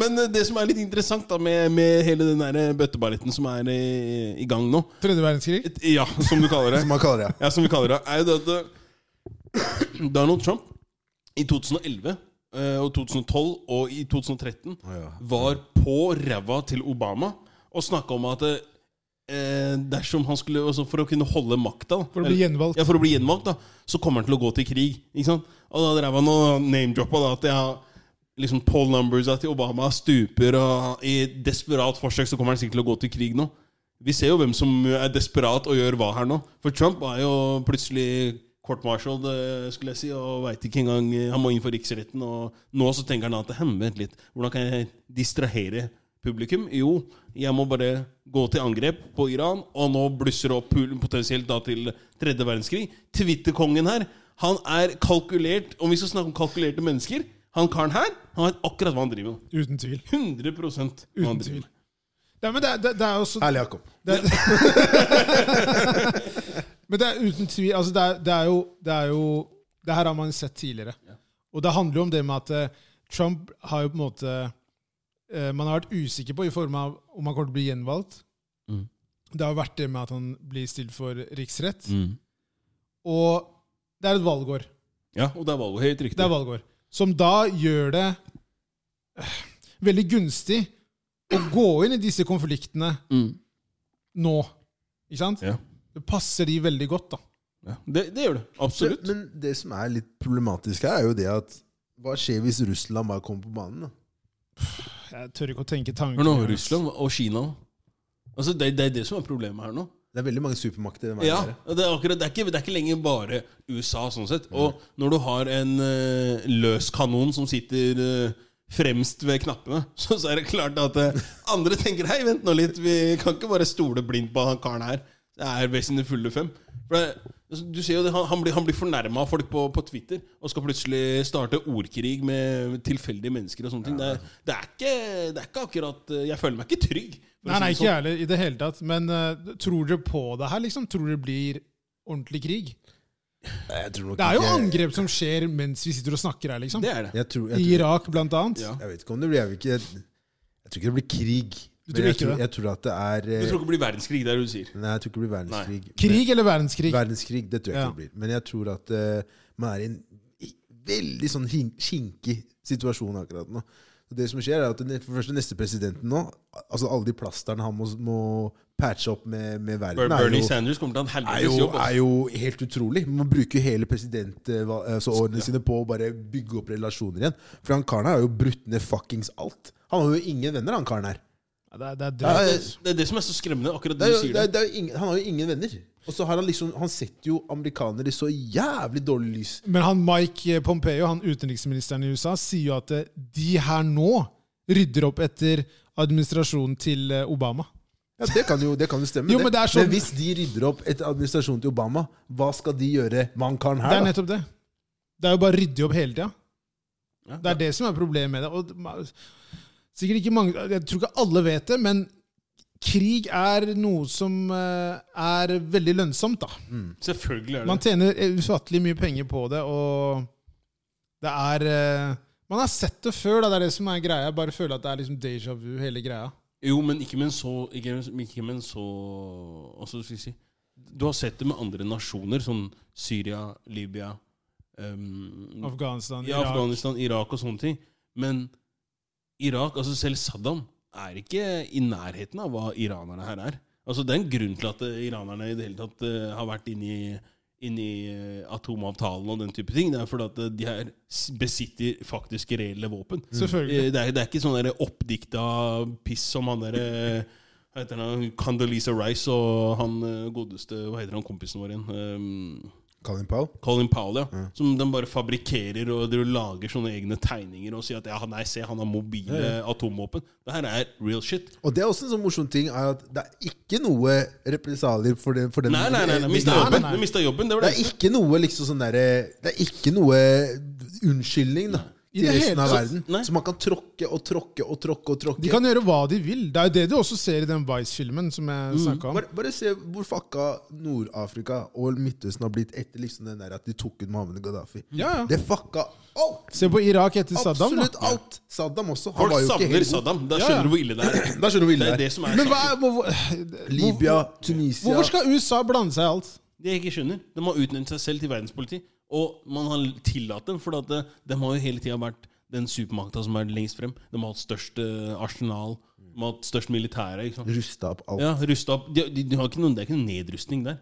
men eh, det som er litt interessant da med, med hele den der bøtteballetten som er i, i gang nå Tredje verdenskrig? et- Ja, som du kaller det. Som man kaller det. Ja, som vi kaller det. Er jo det at eh, Donald Trump i 2011 eh, og 2012 og i 2013 Ja. var på ræva til Obama og snakka om at eh, dersom han skulle altså For å kunne holde makta da, For å bli eller- gjenvalgt. Ja, for å bli gjenvalgt, da så kommer han til å gå til krig. Ikke sant? Og da drev han og name-droppa da, at jeg har liksom poll numbers til Obama stuper, og i desperat forsøk så kommer han sikkert til å gå til krig nå. Vi ser jo hvem som er desperat og gjør hva her nå. For Trump er jo plutselig court-martialed, eh, skulle jeg si, og veit ikke engang eh, Han må inn for riksretten, og nå så tenker han at «Hm, vent litt, hvordan kan jeg distrahere publikum? Jo, jeg må bare gå til angrep på Iran, og nå blusser det opp pul- potensielt da til tredje verdenskrig. Twitter-kongen her, han er kalkulert Om vi skal snakke om kalkulerte mennesker Han karen her, han vet akkurat hva han driver med. Uten tvil. 100 hva han Uten driver tvil. med. Nei, men det, er- det, det er også Herlig, Jakob. det, Men det er uten tvil altså det, er, det er jo Det er jo Det her har man sett tidligere. Og det handler jo om det med at eh, Trump har jo på en måte eh, Man har vært usikker på i form av om han kommer til å bli gjenvalgt. Mm. Det har jo vært det med at han blir stilt for riksrett. Og det er et valgår. Ja, og det er valg. Helt riktig. Det er valgår. Som da gjør det eh, veldig gunstig å gå inn i disse konfliktene Mm. nå. Ikke sant? Ja. Det passer de veldig godt, da. Ja, det, det gjør det. Absolutt. Men det som er litt problematisk her, er jo det at hva skjer hvis Russland bare kommer på banen? da? Jeg tør ikke å tenke tanken. Hør nå, Russland og Kina. Altså, det, det er det som er problemet her nå. Det er veldig mange supermakter. i den verden Ja, her. det er, akkurat, det, er ikke, det er ikke lenger bare USA, sånn sett. Og når du har en eh, løs kanon som sitter eh, fremst ved knappene. Så, så er det klart at eh, andre tenker Hei, vent nå litt, vi kan ikke bare stole blindt på han karen her. Det er best in the fulle fem. For det, altså, du ser jo det, Han, han blir, han blir fornærma av folk på, på Twitter og skal plutselig starte ordkrig med tilfeldige mennesker. og sånne ting. Det, er- det, er ikke, det er ikke akkurat eh, Jeg føler meg ikke trygg. for å si Nei, nei, det sånn. ikke jeg heller i det hele tatt. Men eh, tror dere på det her, liksom? Tror dere det blir ordentlig krig? Jeg tror nok Det er jo ikke- angrep som skjer mens vi sitter og snakker her, sånn. liksom. Det er det. Jeg, tror, I jeg, tror, Irak, blant annet. Ja. jeg vet ikke om det blir Jeg, vil ikke, jeg tror ikke det blir krig. tror Men jeg ikke tror, det? jeg tror at det er Du eh, tror ikke det blir verdenskrig, det er det du sier? Nei, jeg tror ikke det blir verdenskrig. Men- Krig eller verdenskrig? Verdenskrig, det tror jeg Ja. ikke det blir. Men jeg tror at eh, man er i en i- veldig sånn hin- kinkig situasjon akkurat nå. Så det som skjer, er at den for det første neste presidenten nå al- Altså alle de plasterne han må, må patche opp med, med verden, Ber er Bernie jo, Sanders kommer til å ha en er, helvetes jo, jobb. er altså. jo helt utrolig. Man bruker jo hele eh, presidentårene altså sine på å bare bygge opp relasjoner igjen. For han karen her har jo brutt ned fuckings alt. Han har jo ingen venner, han karen her. Ja, det er, det er Ja, drøyt. ja. altså. Det er det som er så skremmende, akkurat Det det er du jo, sier. det der. er, det er jo ingen, han har jo ingen venner. Og så har han liksom Han setter jo amerikanere i så jævlig dårlig lys. Men han Mike eh, Pompeo, han utenriksministeren i USA, sier jo at eh, de her nå rydder opp etter administrasjonen til eh, Obama. Ja, Det kan jo, det kan jo stemme. Jo, men det er sånn- hvis de rydder opp etter administrasjonen til Obama, hva skal de gjøre med han karen Det er her? da? nettopp det. Det er jo bare å rydde opp hele tida. Ja. Det er det som er problemet med det. Og det- ma- sikkert ikke mange, Jeg tror ikke alle vet det, men krig er noe som eh, er veldig lønnsomt. da. Selvfølgelig er det Man tjener ufattelig mye penger på det, og det er eh, Man har sett det før, da. det er det som er greia. Jeg bare føler at det er liksom déjà vu, hele greia. Jo, men ikke med en så Ikke, ikke med en så Altså, skal jeg si Du har sett det med andre nasjoner, sånn Syria, Libya ehm, Mm. Afghanistan, ja, Irak. Afghanistan, Irak og sånne ting. Men Irak, altså selv Saddam, er ikke i nærheten av hva iranerne her er. Altså Det er en grunn til at eh, iranerne i det hele tatt eh, har vært inne i, inn i eh, atomavtalen og den type ting. Det er fordi at eh, de her s- besitter faktisk reelle våpen. Mm. Selvfølgelig. Eh, Det er, det er ikke sånn der oppdikta piss som han derre Hva heter han? Condoleezza Rice og han eh, godeste Hva heter han kompisen vår igjen? Um, Colin Powell? Colin Powell, ja. Som de bare fabrikkerer og de lager sånne egne tegninger og sier at ja, nei, se, han har mobile atomvåpen. Det her er real shit. Og det er også en sånn morsom ting er at det er ikke noe represalier for den, for den Eh, Nei, nei, nei, nei, mista nei, jobben. nei. Du mistet jobben. Det var Det det. er ikke noe liksom sånn derre Det er ikke noe unnskyldning da I til det resten hele av tatt. verden. Nei. Så man kan tråkke og tråkke og tråkke og tråkke. De kan gjøre hva de vil. Det er jo det du også ser i den Vice-filmen som Mm. jeg snakka om. Bare, bare se hvor fucka Nord-Afrika og Midtøsten har blitt etter liksom den der at de tok ut Mohammed Gaddafi. Ja, ja. Det fucka alt! Se på Irak etter Saddam. da. Absolutt alt! Saddam også. Han Folk var jo ikke savner helt god. Saddam. Da Ja, ja. skjønner du hvor ille det er. Da skjønner du Det hvor ille er det det er. som er Men hva saken. er hvor, hvor, Libya, Tunisia Hvorfor skal USA blande seg i alt? Det jeg ikke skjønner. De har utnevnt seg selv til verdenspoliti, og man har tillatt dem, for at eh, de har jo hele tida vært den supermakta som er lengst frem. De har hatt størst eh, arsenal, de har hatt størst militære. Ikke sant? Rusta opp alt. Ja, ruste opp. De, de, de har ikke noen, det er ikke noen nedrustning der.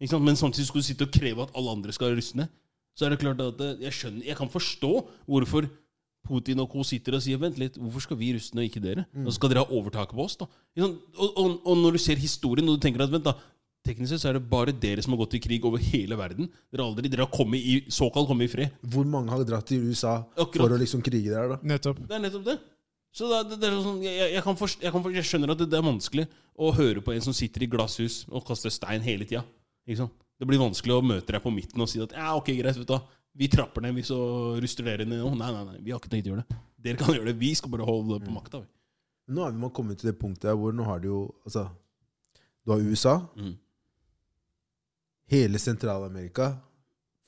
Ikke sant? Men samtidig skulle du sitte og kreve at alle andre skal ruste ned. Så er det klart at eh, jeg skjønner, jeg kan forstå hvorfor Putin og co. sitter og sier Vent litt, hvorfor skal vi ruste ned, og ikke dere? Og så skal dere ha overtaket på oss, da. Ikke sant? Og, og, og når du ser historien, og du tenker at vent da, teknisk sett så er det bare dere som har gått i krig over hele verden. Dere har aldri, dere har kommet i, såkalt kommet i fred. Hvor mange har dratt til USA Akkurat. for å liksom krige der, da? Nettopp. Det er nettopp det. Så det, er- det, det er sånn, jeg, jeg, jeg, kan forst- jeg, kan forst- jeg skjønner at det, det er vanskelig å høre på en som sitter i glasshus og kaster stein hele tida. Ikke sant? Det blir vanskelig å møte deg på midten og si at ja, ok, greit, vet du hva. Vi trapper ned, vi så ruster dere ned. nå.» Nei, nei, nei, vi har ikke tenkt å gjøre det. Dere kan gjøre det. Vi skal bare holde på makta. vi.» Nå er vi man kommet til det punktet der hvor nå har du jo Altså, du har USA. Mm. Hele Sentral-Amerika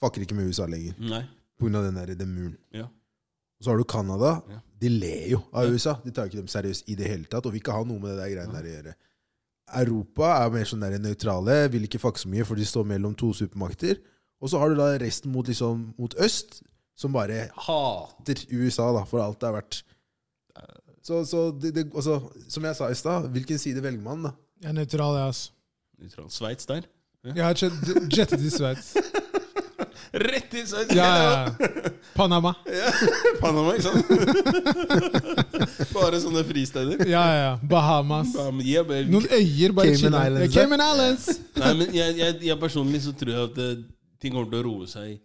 fucker ikke med USA lenger Mm, Nei. pga. den der den muren. Ja. Og så har du Canada. Ja. De ler jo av Ja. USA. De tar ikke dem seriøst i det hele tatt, og vil ikke ha noe med det der greiene der å gjøre. Europa er mer sånn der nøytrale, vil ikke fucke så mye, for de står mellom to supermakter. Og så har du da resten mot, liksom, mot øst, som bare hater USA da, for alt det er verdt. Så, så det, det, altså, som jeg sa i stad, hvilken side velger man, da? Jeg er nøytral, jeg, altså. Nøytral. Sveits der. Jeg har jet- jettet til Sveits. Rett i Sveits! Ja, ja, ja. Panama. Panama, ikke sant? Bare sånne fristeder. Ja, ja, ja. Bahamas. Ja, men jeg bare- Noen øyer bare Cayman chiller. Islands, Ja, Cayman Islands. eh, Nei, men jeg, jeg, jeg personlig så tror jeg at eh, ting kommer til å roe seg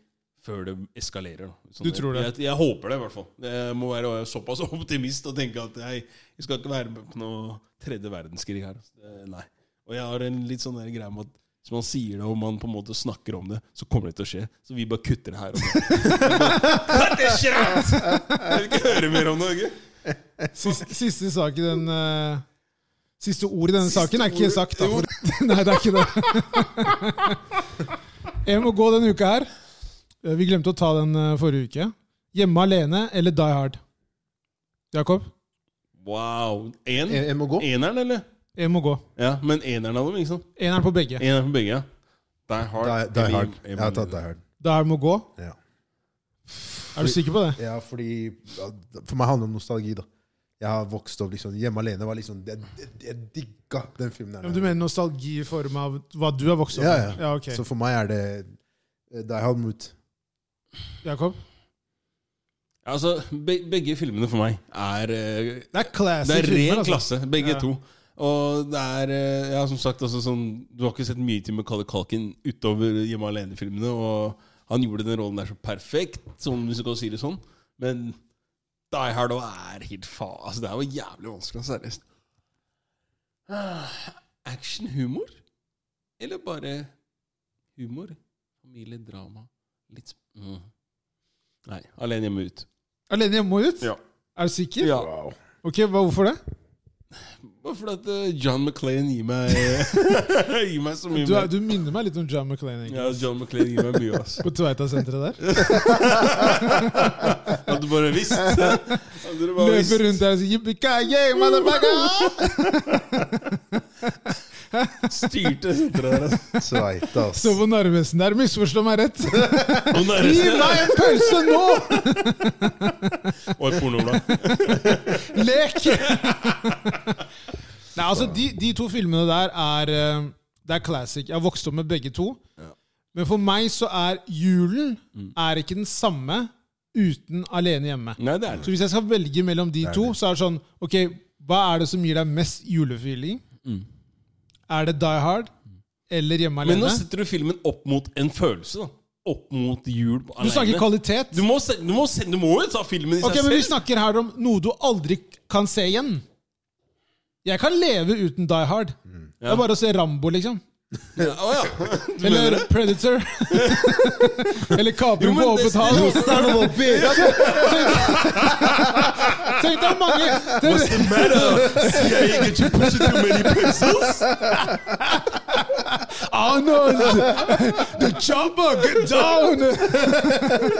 før det eskalerer. da. Sånn Du tror det? Jeg, jeg håper det, i hvert fall. Jeg må være såpass optimist og tenke at jeg, jeg skal ikke være med på noe tredje verdenskrig her. altså. Det- Nei. Og jeg har en litt sånn der greie med at hvis man sier det, og man på en måte snakker om det, så kommer det til å skje. Så vi bare kutter det her. og nå. Cut this shit out! Jeg vil ikke høre mer om det. ikke? Siste, siste sak i den eh, Siste ord i denne Siste saken er ikke ord. sagt, da. Jo. Nei, det er ikke det. Jeg må gå denne uka her. Eh, Vi glemte å ta den eh, forrige uke. Hjemme alene eller Die Hard? Jakob? Wow. En? Jeg, jeg må gå. Eneren, eller? Jeg må gå. Ja, men eneren av dem, ikke sant? Eneren på begge. Eneren på begge, ja. Die Hard. Die, die eller hard. Emily. Jeg har tatt Die Hard. Die Hard må gå. Ja. Er du sikker på det? Ja, fordi ja, For meg handler det om nostalgi, da. Jeg har vokst opp liksom Hjemme alene var liksom Jeg, jeg, jeg digga den filmen. her. Ja, men Du mener nostalgi i form av hva du har vokst opp Ja, med? ja. ok. Så for meg er det eh, Die Hard mot Jakob? Ja, Altså, be begge filmene for meg er eh, Det er classy Det er filmer, ren altså. klasse, begge Ja. to. Og det er eh, Ja, som sagt, altså, sånn, du har ikke sett mye til Macaulay Culkin utover Hjemme alene-filmene, og han gjorde den rollen der så perfekt, sånn, hvis du kan si det sånn. Men Die Hard også er helt fa... Altså, det er jo jævlig vanskelig, altså, seriøst. Ah, Actionhumor? Eller bare humor? Familie, drama Litt sp- mm. Nei. Alene hjemme ut. Alene hjemme og ut? Ja. Er du sikker? Ja. Wow. Ok, hva, Hvorfor det? Bare fordi at eh, John McClane gir meg Gir meg så mye Du, er, mer. du minner meg litt om John McClane. egentlig. Ja, John McClane gir meg mye, altså. ass. På Tveita-senteret der. Hadde du bare visst! Hadde du bare visst. Løper rundt der og sier «Yippee-ki-yay, motherfucker!» Styrte senteret der, altså. ass. Sveita, ass. Så på Narvesen der. Misforstå meg rett. Og Gi nærmeste meg en pølse nå! Og et pornoblad. Lek! Nei, altså, de, de to filmene der er eh, Det er classic. Jeg har vokst opp med begge to. Ja. Mm. Men for meg så er julen er ikke den samme uten Alene hjemme. Nei, det er Så det. hvis jeg skal velge mellom de er to, så er det sånn Ok, hva er det som gir deg mest julefeeling? Mm. Er det Die Hard eller Hjemme Men nå alene? setter du filmen opp mot en følelse, da. Opp mot jul på- Du snakker alene. kvalitet. Du må, se, du, må se, du må jo ta filmen i Ok, seg men Vi selv. snakker her om noe du aldri kan se igjen. Jeg kan leve uten Die Hard. Det er bare å se Rambo, liksom. Ja, å, ja. Du mener Eller det? Predator. Eller Jo, Kapring men på det- åpent hav. Jo, Tenk tenk deg mange What's the matter? CIA get you pushing too many pencils? Arnold! The chopper, get down!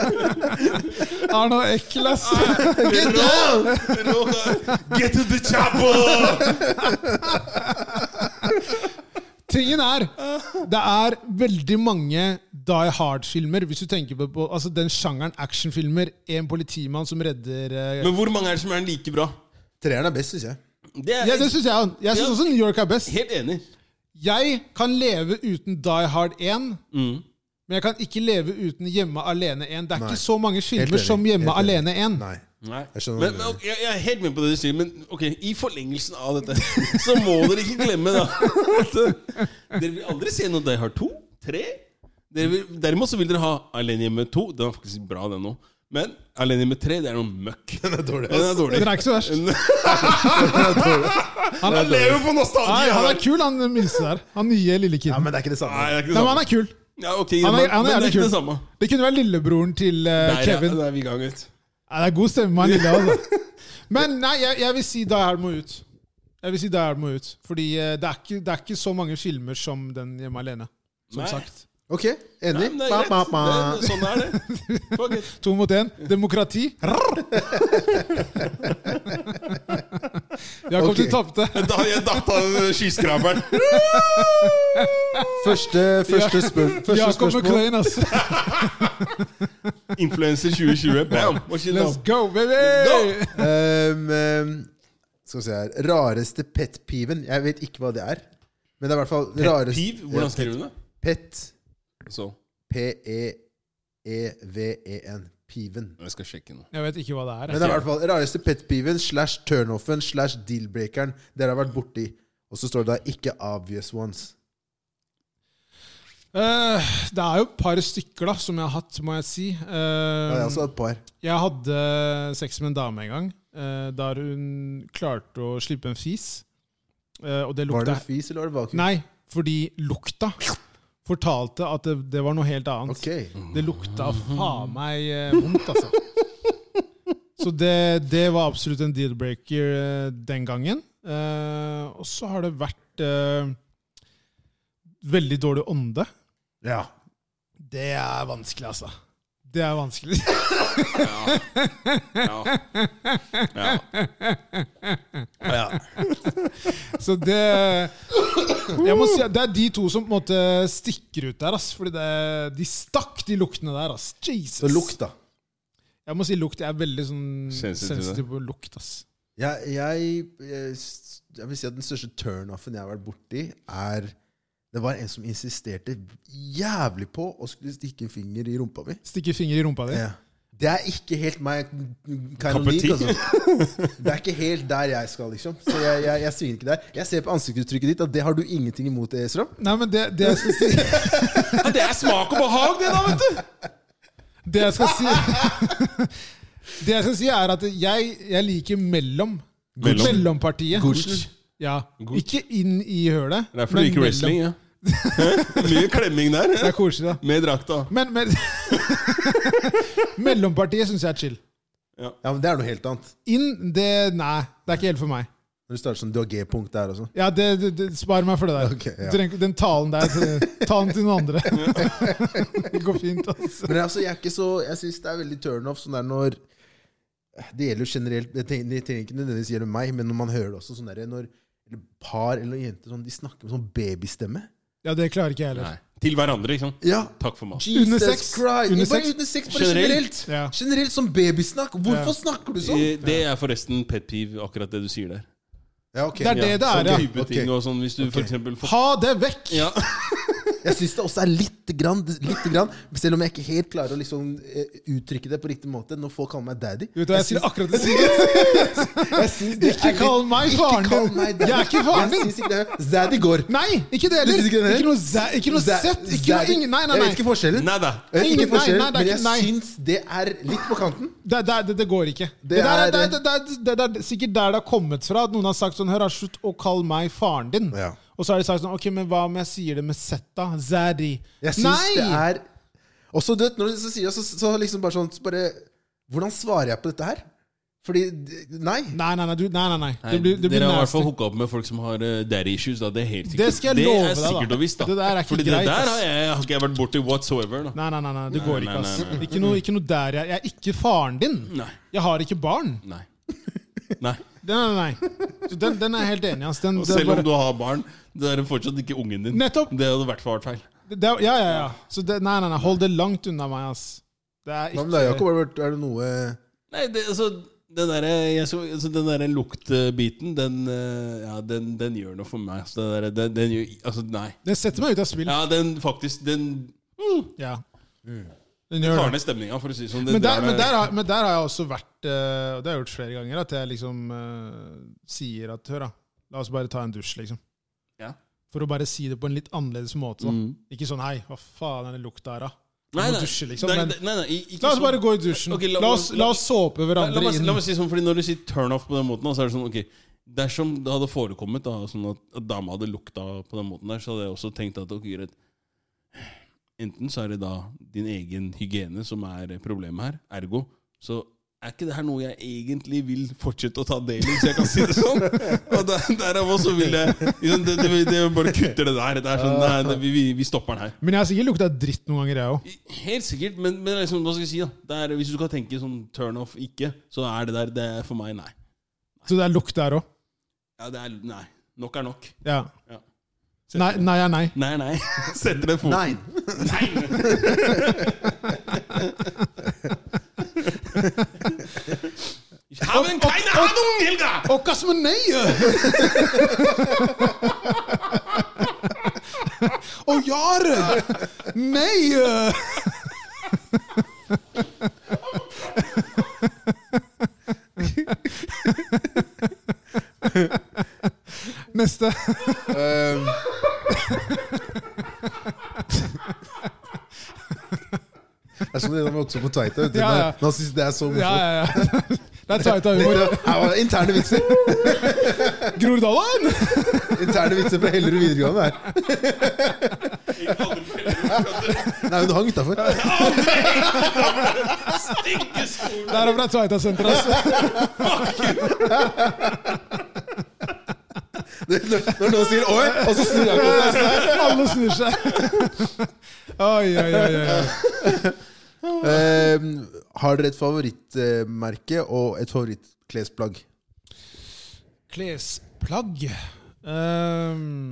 Arnold ekkel, ass. Ah, Get down! uh, Get to the chopper! Tingen er, det er veldig mange Die Hard-filmer, hvis du tenker på, på altså den sjangeren actionfilmer. En politimann som redder eh, Men hvor mange er det som er like bra? Treeren er best, syns jeg. Det er Ja, det syns jeg òg. Jeg syns Ja. også New York er best. Helt enig. Jeg kan leve uten Die Hard 1. Mm. Men jeg kan ikke leve uten Hjemme alene 1. Det er Nei. ikke så mange filmer enig. som Hjemme Helt enig. alene 1. Nei. Nei. Jeg skjønner men, hva du men, mener. ok, jeg, jeg er helt med på det du sier, men ok, i forlengelsen av dette, så må dere ikke glemme da at eh, Dere vil aldri se noe Die Hard 2, 3 dere vil, Derimot så vil dere ha Alene hjemme 2. Den var faktisk bra, den òg. Men Alene hjemme 3, det er noe møkk. Den er dårlig. Den er Den dårlig. er ikke så verst. Han er, lever på nei, nostalgi! han er kul, han minste der. Han nye lille Ja, kiden. men det er ikke det samme. Nei, det er ikke det Nei, men samme. han er kul. Ja, ok, Han er- men, men han er det er jævlig ikke kul. det samme. Det kunne vært lillebroren til eh, Der, ja, Kevin. da er vi i gang, vet du. Nei, det er god stemme, han lille. Altså. Men nei, jeg, jeg vil si Die Hard må ut. Jeg vil si Die Hard må ut. Fordi eh, det er, ikke, det er ikke så mange filmer som den Hjemme alene. Som Nei. sagt. Ok, enig? Nei, men det Ba, er ba, greit. ba. Det- Sånn er det. Fuck it. To mot én. Demokrati. Rrr! Jakob, Ok. du tapte. Da jeg datt av skyskraperen. Første, første, spør første Jakob altså. spørsmål. McLean, ass. Influencer 2020. Bam! Hva skjer nå? Let's go, baby! Go! Um, um, skal vi se her Rareste pet-piven. Jeg vet ikke hva det er. Men det er i hvert fall rarest- Piv? Ja, Hvordan skriver du det? Pet. Så, P-e-e-v-e-n. Piven. jeg skal sjekke nå. Jeg vet ikke hva det er. altså. Men det er i hvert fall rareste pet-piven slash turnoffen slash deal-breakeren dere har vært borti. Og så står det da 'ikke obvious ones'. Eh, det er jo et par stykker da, som jeg har hatt, må jeg si. Eh, Ja, jeg har også hatt altså et par. Jeg hadde sex med en dame en gang, eh, der hun klarte å slippe en fis. Eh, og det Var det lukta fis, eller var det vakuum? Nei, fordi lukta fortalte at det, det var noe helt annet. Ok. Det lukta faen meg eh, vondt, altså. Så det, det var absolutt en deal-breaker eh, den gangen. Eh, og så har det vært eh, veldig dårlig ånde. Ja. Det er vanskelig, altså. Det er vanskelig. Ja. ja. Så det Jeg må si at det er de to som på en måte stikker ut der, ass. Fordi det, de stakk de luktene der, ass. Jesus. Så lukt, da. Jeg må si lukt. Jeg er veldig sånn Sensitiv, da. sensitiv på lukt, ass. Jeg, jeg, jeg, s- jeg vil si at den største turnoffen jeg har vært borti, er Det var en som insisterte jævlig på å skulle stikke en finger i rumpa mi. Stikke finger i rumpa di. Ja. Det er ikke helt meg. Cup of Karonik, tea. altså. Det er ikke helt der jeg skal, liksom. Så jeg, jeg, jeg svinger ikke der. Jeg ser på ansiktsuttrykket ditt at det har du ingenting imot, eh, Esram. Nei, men det, det jeg skal si Ja, Det er smak og behag, det, da, vet du! Det jeg skal si Det jeg skal si, er at jeg, jeg liker mellom. Mellom. Mellompartiet. Gooch. Ja. Ikke inn i hølet. Det er men fordi du liker mellom. wrestling, ja. Hæ? Mye klemming der. Det Ja. er koselig, da. Med drakta. Men, men Mellompartiet syns jeg er chill. Ja, men det er noe helt annet. Inn, det Nei, det er ikke helt for meg. Når du starter sånn, du har G-punkt der også. Ja, det, det, det Spar meg for det der. Ok, ja. Trenger ikke- Den talen der, så- ta den til noen andre. det går fint, altså. Men altså, jeg er ikke så Jeg syns det er veldig turnoff sånn der når Det gjelder jo generelt Det trenger det trenger ikke nødvendigvis gjelde meg, men når man hører det også sånn der når eller par eller jenter sånn, de snakker med sånn babystemme. Ja, det klarer ikke jeg heller. Til hverandre, ikke sant? Ja. Takk for mat. Under Jesus sex. Christ. Under Ikke bare sex. under sex, bare Generelt. generelt. Ja. Generelt som babysnakk. Hvorfor Ja. snakker du sånn? Eh, Det er forresten pet peeve, akkurat det du sier der. Ja, ok. Det er det det er, sånn ja. type Ok. ting og sånn, hvis du for eksempel får Ha det vekk! ja. Jeg syns det også er lite grann, lite grann, selv om jeg ikke helt klarer å liksom eh, uttrykke det på riktig måte når folk kaller meg daddy. Du vet hva, jeg sier akkurat det samme. Jeg synes det Ikke er kall litt- meg ikke faren kall din. meg daddy. Jeg er ikke faren din. Jeg synes ikke det. Daddy går. Nei, ikke det heller! Du synes ikke det heller? Ikke noe, za- ikke noe Zæ- sett! Ikke noe Zæ- ingen, nei, nei, Jeg nei. vet ikke forskjellen. Neida. Jeg vet Ingen- ikke nei, forskjellen, nei, det er men ikke- jeg nei. syns det er litt på kanten. Det, det, det, det går ikke. Det, Det der, er- er- det, det, det, det, det er sikkert der det har kommet fra. At noen har sagt sånn Hør, da, slutt å kalle meg faren din. Ja. Og så har de sagt sånn Ok, men hva om jeg sier det med Z, da? Zeri. Jeg syns det er Og så, du vet, når du så sier det, så, så liksom bare sånn så bare, Hvordan svarer jeg på dette her? Fordi Nei. Nei, nei, nei. Du, nei, nei, nei. Det blir, det blir Dere har i hvert nasty. fall hooka opp med folk som har eh, daddy issues. Da. Det er helt sikkert. Det skal jeg love er deg, da. sikkert og visst, da. Det der er ikke Fordi greit, det der ass. har jeg, har ikke jeg vært borti whatsoever. Da. Nei, nei, nei, nei, det nei, går ikke, ass. nei, nei. Ikke, noe, ikke noe der jeg Jeg er ikke faren din. Nei. Jeg har ikke barn. Nei. Nei. Nei, nei, nei. Så Den, den er jeg helt enig i, ass. Den, Og det er selv om bare- du har barn, det er fortsatt ikke ungen din. Nettopp. Det hadde i hvert fall vært feil. det, det, Ja, ja, ja. Så det, nei, nei, nei. Hold det langt unna meg, ass. Det er Hva ikke med deg, Sånn, Jakob? Har det vært- Er det noe Nei, det, altså den der, jeg, så, altså, den der luktbiten, den, eh, ja, den, den gjør noe for meg. Altså, den der, den, den gjør, altså, nei. Den setter meg ut av spill. Ja, den faktisk Den Ja. Den gjør tar det. ned stemninga, for å si det sånn. Den Men der, drar men, deg- der har, men der har jeg også vært eh, Og det har jeg gjort flere ganger, at jeg liksom eh, sier at Hør, da. La oss bare ta en dusj, liksom. Ja. For å bare si det på en litt annerledes måte. Da. Mm. Ikke sånn Hei, hva faen er det lukta her, da? Vi Nei, må nei, dusje, liksom. det er- Men det- nei, nei, i- ikke la oss sånn- bare gå i dusjen. Ok, la- la, oss, la oss såpe Nei, La hverandre meg, si- la inn. meg si sånn, fordi Når du sier turn off på den måten, da, så er det sånn ok Dersom det hadde forekommet da, sånn at, at dama hadde lukta på den måten der, så hadde jeg også tenkt at ok, greit Enten så er det da din egen hygiene som er problemet her, ergo så er ikke det her noe jeg egentlig vil fortsette å ta del i, hvis jeg kan si det sånn? Og der, derav også vil jeg liksom, det, det, det bare kutter det der. Det er sånn, nei, det, vi, vi- vi stopper den her. Men jeg har sikkert lukta dritt noen ganger, jeg òg. Helt sikkert, men, men liksom, hva skal jeg si da? Det er, hvis du skal tenke sånn turn-off ikke, så er det der det er for meg nei. Så det er lukt der òg. Ja, det er nei. Nok er nok. Ja. Ja. Nei, nei er nei. Nei, nei. Setter det foten. Nei. Ich habe keine Ahnung, Helga! Og hva som er nei? Og jare! Nei! Neste. Ehm. det er også på Tveita. vet du. Ja, ja. Men Han synes det er så morsomt. Ja, ja, ja. Det er tight av humor. Her var det interne vitser Groruddalen! Interne vitser fra Hellerud videregående. her Ingen andre foreldre. Nei, men du hang utafor. Stinke skolen! Der er fra altså. Tveita-senteret. ass. Når noen sier 'oi', og så snur jeg på seg. Alle snur seg. Oi, oi, oi. oi. Eh, har dere et favorittmerke og et favorittklesplagg? Klesplagg Ehm,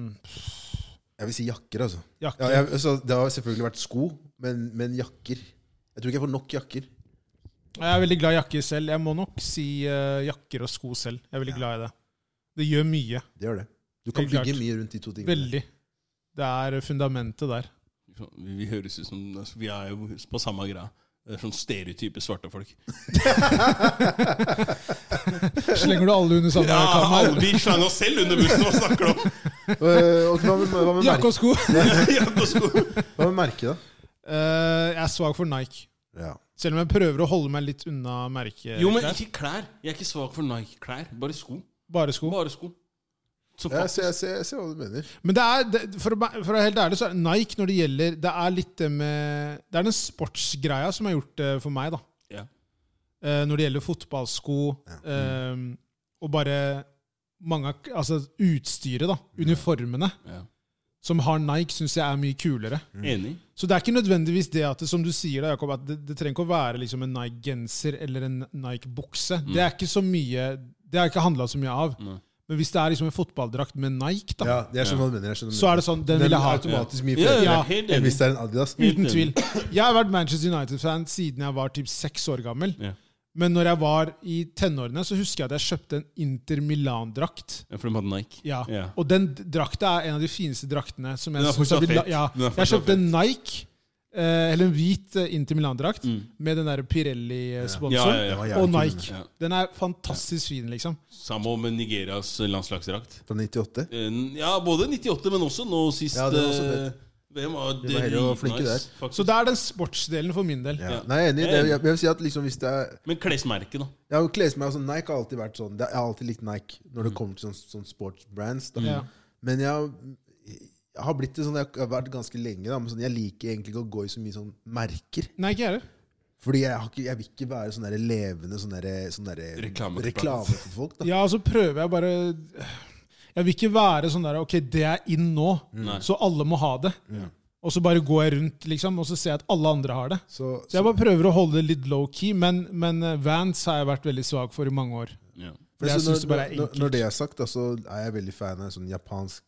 Jeg vil si jakker, altså. Jakker. Ja, jeg, altså det har selvfølgelig vært sko, men, men jakker Jeg tror ikke jeg får nok jakker. Jeg er veldig glad i jakker selv. Jeg må nok si eh, jakker og sko selv. Jeg er veldig glad i det. Det gjør mye. Det gjør det. Du kan Helt klart. bygge mye rundt de to tingene. Veldig. Det er eh, fundamentet der. Vi, vi høres ut som altså, Vi er jo på samme greia. Det er sånn stereotype svarte folk. Slenger du alle under samme Ja, kam her? alle, Vi slang oss selv under bussen, hva snakker du om? Eh, og hva med, hva med, Jakke merke, og sko. Ja, på sko. hva med merke, da? Eh, jeg er svak for Nike. Ja. Selv om jeg prøver å holde meg litt unna merket. Jo, men ikke klær. Jeg er ikke svak for Nike-klær. Bare sko. Bare sko. Bare sko. Så Jeg, faktisk ser, jeg, ser, jeg ser hva du mener. Men det er, det, for, å, bæ- for å være helt ærlig, så er Nike når det gjelder Det er litt det med Det er den sportsgreia som har gjort det for meg, da. Ja. Eh, når det gjelder fotballsko eh, og bare mange av Altså utstyret, da. Uniformene ja. som har Nike, syns jeg er mye kulere. Enig. Så det er ikke nødvendigvis det at det, som du sier da, Jakob, at det, det trenger ikke å være liksom en Nike-genser eller en Nike-bukse. Det er ikke så mye Det har jeg ikke handla så mye av. Mm. Nei. Men hvis det er liksom en fotballdrakt med Nike, da, Ja, jeg skjønner hva du mener. Jeg skjønner hva du så er mener. det sånn Den vil jeg ha. automatisk mye Ja, flere ja, Ja. helt enn enig. hvis det er en Adidas. Uten Helt tvil. Jeg har vært Manchester United-fan siden jeg var typ seks år gammel. Ja. Men når jeg var i tenårene, så husker jeg at jeg kjøpte en Inter Milan-drakt. Ja, For de hadde Nike. Ja. Ja. Og den d- drakta er en av de fineste draktene som jeg Den er synes fortsatt at de la- fet. Ja. Den er Jeg fortsatt kjøpte en Nike, eh, eller en hvit eh, Inter Milan-drakt, med den der Pirelli-sponsoren. Mm. Ja, ja, ja. Og Den var jævlig Nike. Ja. Den er fantastisk fin, liksom. Samme med Nigerias landslagsdrakt. Fra 98. Eh, Ja, både 98, men også nå sist. Ja, den var også eh, VM var De var heller dritnice, flinke der. faktisk. Så det er den sportsdelen for min del. Ja. Ja. Nei, jeg er enig. Det, er- jeg, jeg vil si at liksom hvis det er Men klesmerket, da. Jeg har jo klesmerke, altså Nike har alltid vært sånn. Jeg har alltid likt Nike når det kommer til sånn, sånn sportsbrands. Da. Mm. Ja. Men jeg, har- jeg har blitt det sånn, jeg har vært ganske lenge, da, men sånn, jeg liker egentlig ikke å gå i så mye sånn merker. Nei, ikke jeg heller. Fordi jeg, har ikke, jeg vil ikke være sånn der levende sånn der, sånn der, Reklame for reklame for folk. da. Ja, og så prøver jeg bare Jeg vil ikke være sånn der Ok, det er inn nå, Nei. så alle må ha det. Og så bare går jeg rundt, liksom, og så ser jeg at alle andre har det. Så, Så jeg bare prøver å holde det litt low-key, men, men eh, Vans har jeg vært veldig svak for i mange år. Ja. for jeg så synes det bare når, er når, enkelt. når det er sagt, da, så er jeg veldig fan av en sånn japansk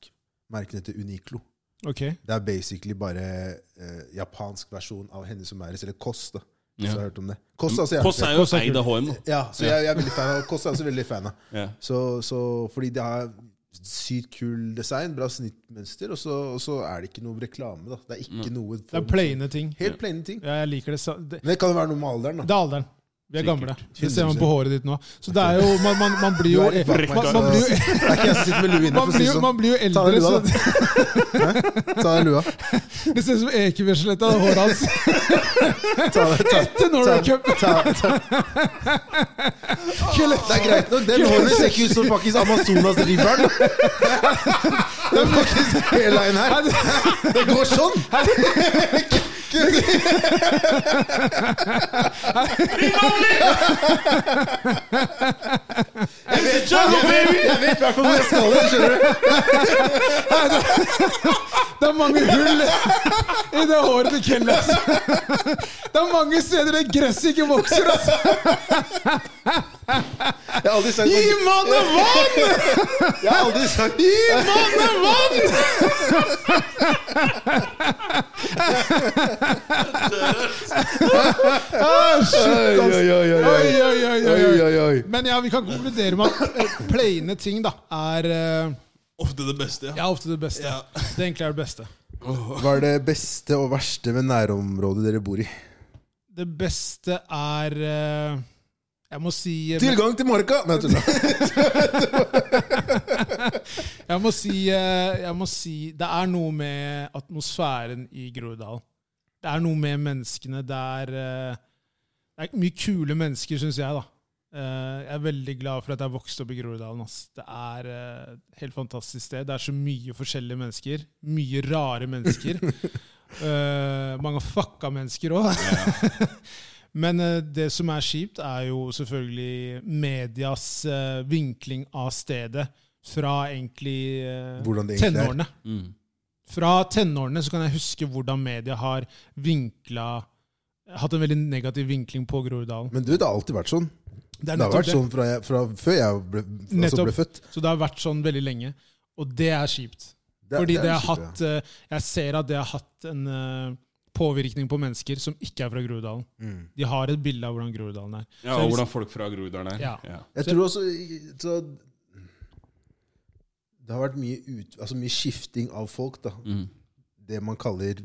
merke som heter Uniqlo. Ok. Det er basically bare eh, japansk versjon av Henne som er eller Kåss. da. Hvis Ja. du har hørt om det. Kåss er også jævlig Kåss fett. er jo eid av HM, da. Ja, så jeg, jeg er veldig fan av Kåss er jeg også veldig fan av. Ja. Så, så, fordi det har sykt kul design, bra snittmønster, og så, og så er det ikke noe reklame. da. Det er ikke noe Det er plaine ting. Helt plaine ting. Ja, jeg liker det. sa- Det Men det kan jo være noe med alderen. det da. er alderen. Vi er gamle. Det ser man 100%. på håret ditt nå. Så det er jo Man, man, man blir jo Du er man, bak meg, man, så- blir jo, Det er ikke jeg som sitter med lue inne, man, for å si blir det jo, sånn. man blir jo Ta av deg eldre, så lua, da. Ta av deg lua. det ser ut som Ekebergsletta, det håret hans. Ta av deg- ta- Etter Norway ta- Cup! ta- ta- Det er greit nok. Den håret ser ikke ut som faktisk Amazonas-riveren. Det er faktisk hele veien her. Det går sånn! Jeg vet, jeg vet, Hvor jeg skal det, skjønner du? Det er mange hull i det håret til Kelly. ass. Det er mange steder det gresset ikke vokser. ass. Jeg har aldri sagt Gi mannen vann! Jeg har aldri sagt Gi mannen vann! Ah, shit, ass. oi, oi, Oi, oi, oi, oi, oi. oi, oi. Men ja, vi kan konkludere med at eh, plaine ting da, er eh, Ofte det beste, ja. ja, ofte det beste. Ja. Det egentlig er det beste. Hva er det beste og verste med nærområdet dere bor i? Det beste er eh, Jeg må si eh, Tilgang til marka! Nei, tulla. Jeg må si, eh, jeg må si Det er noe med atmosfæren i Groruddalen. Det er noe med menneskene. Det er, eh, det er mye kule mennesker, syns jeg. da. Eh, jeg er veldig glad for at jeg vokste opp i Groruddalen. ass. Det er eh, et helt fantastisk sted. Det er så mye forskjellige mennesker. Mye rare mennesker. Eh, mange fucka mennesker òg. Men eh, det som er kjipt, er jo selvfølgelig medias eh, vinkling av stedet fra egentlig eh, Hvordan det egentlig er. tenårene. Fra tenårene så kan jeg huske hvordan media har vinkla Hatt en veldig negativ vinkling på Groruddalen. Men du, det har alltid vært sånn. Det Det er har nettopp vært det. sånn fra, jeg, fra før jeg ble, altså ble Nettopp. født. Så det har vært sånn veldig lenge. Og det er kjipt. Det- Fordi det er det har kjipt, ja. hatt eh, Jeg ser at det har hatt en eh, påvirkning på mennesker som ikke er fra Groruddalen. Mm. De har et bilde av hvordan Groruddalen er. Ja, Så jeg og vil hvordan folk fra Groruddalen er. Ja. Jeg tror også i- så, Det har vært mye, ut, altså mye skifting av folk, da. Mm. Det man kaller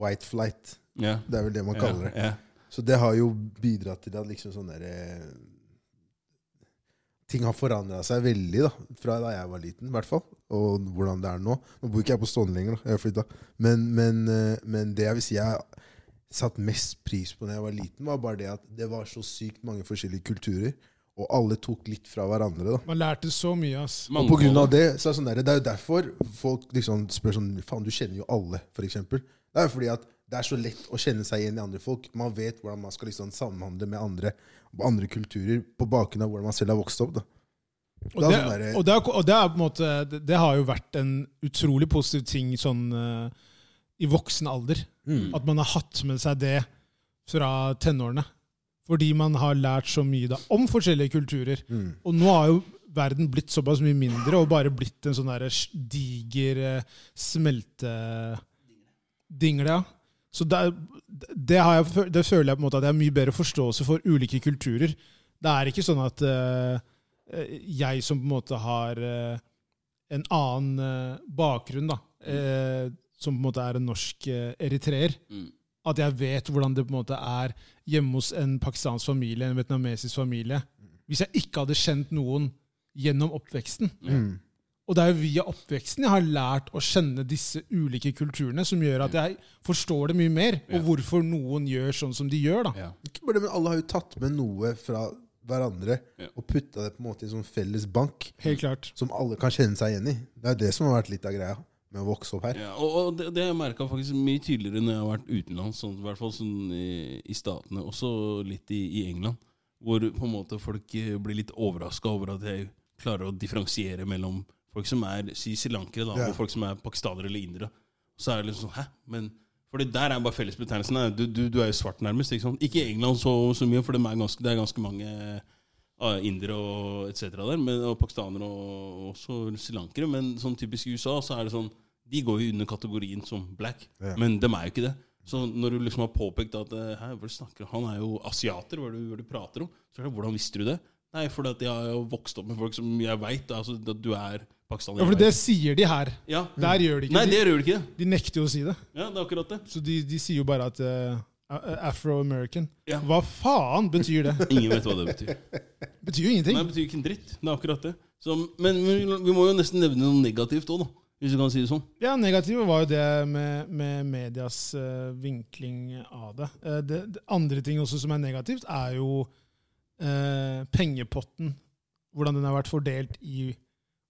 white flight. Ja. Det er vel det man kaller det. Ja. Så det har jo bidratt til at liksom sånn derre Ting har forandra seg veldig da fra da jeg var liten, i hvert fall. Og hvordan det er nå. Nå bor ikke jeg på Stående lenger, da. jeg har flytta. Men, men, eh, men det jeg vil si jeg satte mest pris på da jeg var liten, var bare det at det var så sykt mange forskjellige kulturer. Og alle tok litt fra hverandre. da Man lærte så mye, ass. Mangfold. og på grunn av det, så er det sånn der, det er jo derfor folk liksom spør sånn Faen, du kjenner jo alle, for eksempel. Det er jo fordi at det er så lett å kjenne seg igjen i andre folk. Man vet hvordan man skal liksom samhandle med andre, andre kulturer på bakgrunn av hvordan man selv har vokst opp. da. Og Det er det, sånn derre- og det, er, og det er på en måte det, det har jo vært en utrolig positiv ting sånn eh, i voksen alder. At man har hatt med seg det fra tenårene. Fordi man har lært så mye da om forskjellige kulturer. Mm. Og nå har jo verden blitt såpass mye mindre og bare blitt en sånn derre sj- diger eh, smeltedingle. Ja. Så det, er- det, har jeg, fø- det føler jeg på en måte at jeg har mye bedre forståelse for ulike kulturer. Det er ikke sånn at eh, eh, jeg som på en måte har eh, en annen eh, bakgrunn, da, eh, som på en måte er en norsk eh, eritreer, Mm. at jeg vet hvordan det på en måte er hjemme hos en pakistansk familie, en vietnamesisk familie, hvis jeg ikke hadde kjent noen gjennom oppveksten. Mm. Og det er jo via oppveksten jeg har lært å kjenne disse ulike kulturene, som gjør at jeg forstår det mye mer, Mm. Ja. og hvorfor noen gjør sånn som de gjør. da. Ja. Ikke bare det, men alle har jo tatt med noe fra hverandre Ja. og putta det på en måte i en sånn felles bank Helt klart. som alle kan kjenne seg igjen i. Det er det som har vært litt av greia med å vokse opp her. Ja, og, og det, det har jeg merka faktisk mye tydeligere når jeg har vært utenlands, sånn, i hvert fall sånn i, i Statene, også litt i, i England, hvor på en måte folk eh, blir litt overraska over at jeg klarer å differensiere mellom folk som er si Sri Lankere, da, Ja. og folk som er pakistanere eller indere. Så er det liksom sånn, hæ? Men fordi der er bare fellesbetegnelsen. her. Du, du, du er jo svart, nærmest. Ikke sant? Ikke i England så, så mye, for dem er ganske, det er ganske mange ah, indere og etc. der, men, og pakistanere og også srilankere. Men sånn typisk i USA så er det sånn De går jo under kategorien som black, Ja. men dem er jo ikke det. Så når du liksom har påpekt at eh, Hæ, hva er det du snakker om? Han er jo asiater, hva er det du, hva er det du prater om? Så er det, hvordan visste du det? Nei, fordi at jeg har jo vokst opp med folk som jeg veit altså, at du er pakistaner. Ja, for jeg det vet. sier de her. ja. Der gjør de ikke Mm. Nei, det gjør du ikke. De, de nekter jo å si det. Ja, det er akkurat det. Så de, de sier jo bare at eh, Afro-American. Ja. Hva faen betyr det? Ingen vet hva det betyr. Betyr jo Nei, ingenting. det betyr ikke en dritt. Det er akkurat det. Så, men, men vi må jo nesten nevne noe negativt òg, da. Hvis du kan si det sånn. Ja, Negativet var jo det med, med medias eh, vinkling av det. Eh, det. Det andre ting også som er negativt, er jo eh, pengepotten. Hvordan den har vært fordelt i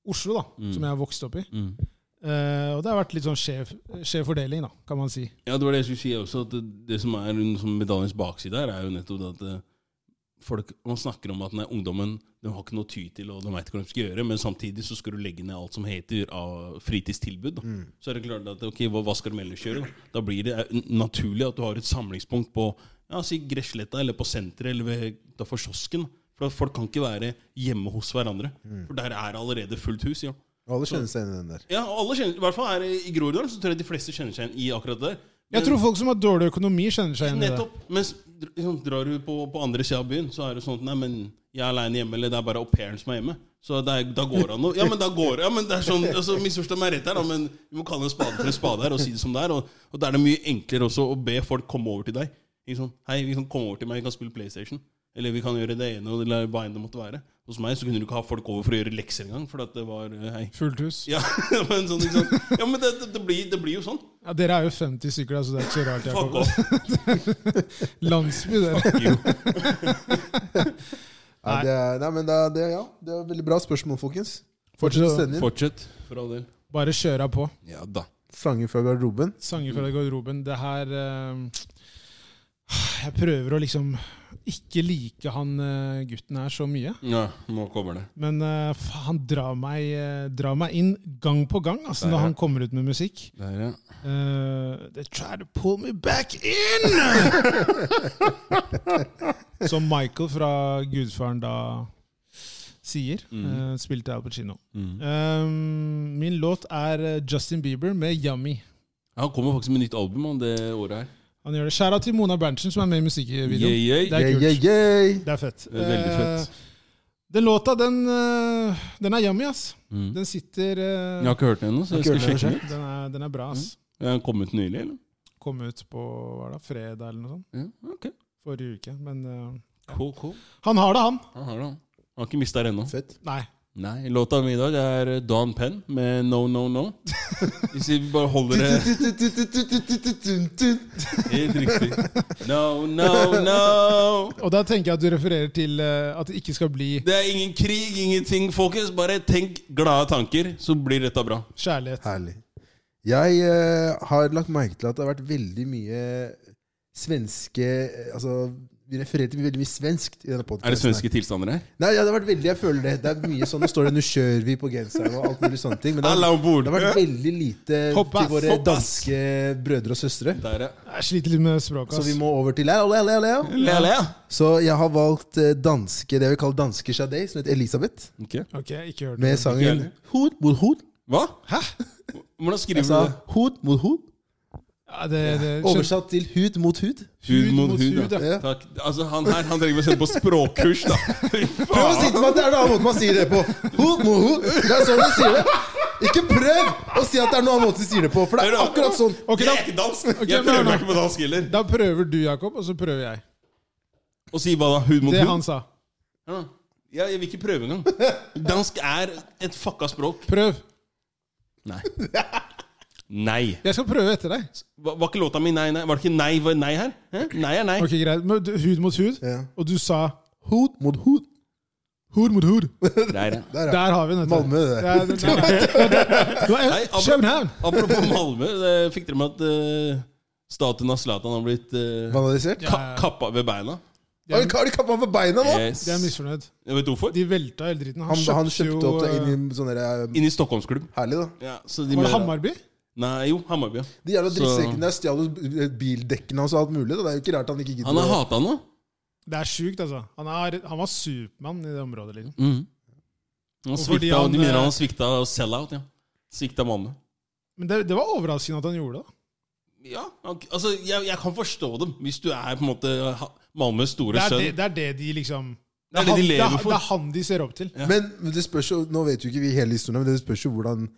Oslo, da, Mm. som jeg har vokst opp i. Eh, og det har vært litt sånn skjev, skjev fordeling, da, kan man si. Ja, det var det jeg skulle si også. At det, det som er en sånn medaljens bakside her, er jo nettopp det at eh, folk Man snakker om at nei, ungdommen de har ikke noe å ty til, og de veit ikke hva de skal gjøre, men samtidig så skal du legge ned alt som heter av fritidstilbud. Da. Så er det klart at ok, hva, hva skal de ellers gjøre? Da? da blir det eh, naturlig at du har et samlingspunkt på ja, si Gressletta, eller på senteret, eller ved- utenfor kiosken. For at folk kan ikke være hjemme hos hverandre. For der er allerede fullt hus. Ja. Og alle kjenner seg igjen i den der. Ja, og alle kjenner, i hvert fall her i Groruddalen så tror jeg de fleste kjenner seg igjen i akkurat det der. Men- Jeg tror folk som har dårlig økonomi, kjenner seg igjen i det. Nettopp. Mens dr- liksom, drar du på, på andre sida av byen, så er det sånn at nei, men jeg er aleine hjemme, eller det er bare au pairen som er hjemme. Så det er, da går det an å Ja, men da går ja, men det er sånn, altså, Misforstå meg rett her, da, men vi må kalle en spade for en spade her, og si det som det er. Og, og da er det mye enklere også å be folk komme over til deg. Ikke sånn, Hei, vi kan komme over til meg, vi kan spille PlayStation. Eller vi kan gjøre det ene og det- hva enn det måtte være. Hos meg så kunne du ikke ha folk over for å gjøre lekser engang. For at det var eh, hei. Fullt hus. Ja, men, sånn, ikke sant? ja, men det, det, det, blir, det blir jo sånn. Ja, Dere er jo 50 stykker, da, så det er ikke så rart. Fuck Jakob. off. Landsby, det. Jo. Nei, det er, nei men det er, det, er- ja, det er veldig bra spørsmål, folkens. Fortsett å sende inn. Fortsett, for all del. Bare kjøra på. Ja da. Sanger fra garderoben. Sanger fra garderoben. Det her eh, Jeg prøver å liksom ikke like han eh, gutten her så mye. Ja, nå kommer det. Men eh, fa- han drar meg, eh, drar meg inn gang på gang Der, altså, ja. når han kommer ut med musikk. Der, ja. Eh, they try to pull me back in! Som Michael fra Gudfaren da sier. Mhm. eh, spilte Al Pacino. Mhm. Um, min låt er eh, Justin Bieber med 'Yummy'. Han kommer faktisk med nytt album om det året her. Han gjør det. Skjæra til Mona Berntsen, som er med i musikkvideoen. Yay, yay. Det er Yeah, kult. yeah, yeah. Det er fett. Det er veldig fett. Eh, den låta, den, eh, den er yummy, ass. Mhm. Den sitter eh, Jeg har ikke hørt den ennå, så jeg Har skal ikke hørt sjekke den ut. Mm. den den, er, den er bra, ass. Er Den kom ut nylig, eller? Kom ut på hva er det, fredag eller noe sånt. Ja, ok. Forrige uke. Men eh, Cool, cool. han har det, han. Han har det, han. Han har ikke mista det ennå. Fett. Nei. Nei, låta mi i dag er Don Penn med No No No. Hvis vi bare holder det helt riktig. No, no, no. Og da tenker jeg at du refererer til eh, at det ikke skal bli Det er ingen krig, ingenting, folkens. Bare tenk glade tanker, så blir dette bra. kjærlighet. Herlig. Jeg eh, har lagt merke til at det har vært veldig mye svenske eh, Altså, vi refererer til veldig mye svenskt i denne podcasten Er det svenske her. tilstander her? Nei, ja, det har vært veldig, jeg føler det. Det er mye sånn, Nå står det 'nå kjører vi' på genseren og alt mulig sånne ting. Men det Alle har, om bord! det har vært veldig lite Hoppas, til våre hoppas. danske brødre og søstre. Der, ja. Jeg sliter litt med språket, Så vi ass. må over til Leo, Leo, Leo, Leo. Le, le. Så jeg har valgt eh, danske, det vi kaller danske Sade, som heter Elisabeth, Ok. Ok, ikke hørt med det. sangen 'Hod mot hod'. Hva? Hæ? Hvordan Jeg skriver sa du det? 'hod mot hod', Ja, det, det skjønner- oversatt til 'hud mot hud'. Hud mot hud, ja. ja. Takk. Altså, han her han trenger å sende på språkkurs, da. Fy Prøv å faen. si til meg at det er noe annet man sier det på. Ho, mo, ho. Det er sånn man sier det. Ikke prøv å si at det er noe annet man sier det på, for det er akkurat sånn. Ok, Jeg da, er ikke dansk! Jeg men hør prøver meg nå. ikke på dansk heller. da prøver du, Jakob, og så prøver jeg. Og si hva da? Hud mot Det hud? han sa. Ja, Ja, jeg vil ikke prøve engang. Dansk er et fucka språk. Prøv. Nei. Nei. Jeg skal prøve etter deg. Var, var ikke låta mi nei, nei? Var det ikke nei var nei her? Hæ? Nei er nei. Ok, greit. Men du- Hud mot hud. Ja. Og du sa Hod mot hod. hud mot hud. Der, ja. Der, ja. Der har vi den. vet du. Malmö, det der. Ja, den- nei, nei. Du er- Nei, Ab- København! Apropos Malmö, det fikk dere med at eh, statuen av Zlatan har blitt eh, Vandalisert. ka kappa ved beina? Ja. Oi, Har de kappa med beina nå? Yes. De er misfornøyd. Jeg vet hvorfor? De velta hele dritten. Han, han jo, kjøpte opp det eh, inn i sånn der, eh, Inne i Stockholmsklubb. Herlig, da. Ja, så de Var det mener- Hammarby? Nei, jo, Hammarby. ja. De jævla Så- drittsekkene der stjal jo bildekkene hans og alt mulig. da. Det er jo ikke rart han ikke Han er gidder. å- hata nå. Det er sjukt, altså. Han, er, han var Supermann i det området. liksom. Mm. Han Og fordi svikta, han, de mener eh, han svikta sell-out. Ja. Svikta Malmö. Men det, det var overraskende at han gjorde det. Ja, ok, altså jeg, jeg kan forstå dem, hvis du er på en måte ha- Malmøs store Det er det, sønn. det, er det de liksom Det er det de han- lever er- for. Det er han de ser opp til. Ja. Men men det spørs jo, nå vet jo ikke vi hele historien, men det spørs jo hvordan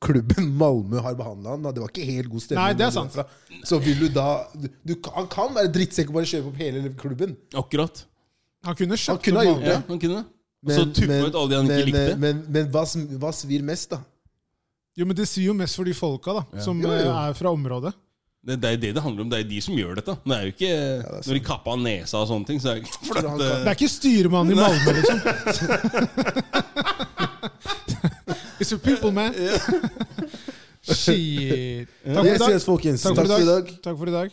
klubben Malmö har behandla han. da. Det var ikke helt god stemning. Nei, det er sant. derfra. Så vil du da du, Han kan være drittsekk og bare kjøpe opp hele klubben. Akkurat. Han kunne Han kjøpt kunne ha opp gjort Malmö. Ja, han kunne det. Og Men- så tuppa men- ut alle de han ikke men, likte. Men, men, hva, sm- hva svir mest, da? Jo, Men det sier jo mest for de folka da, som Jo, jo. eh, er fra området. Det, det er jo det det handler om. Det er jo de som gjør dette. Det er jo ikke Når de kappa han nesa og sånne ting, så er det ikke for han at eh, kan- Det er ikke styrmannen i Malmö, liksom. It's a people, man. Shit. Takk for i Yes, dag. yes, folkens. Takk for i dag. dag. Takk for i dag.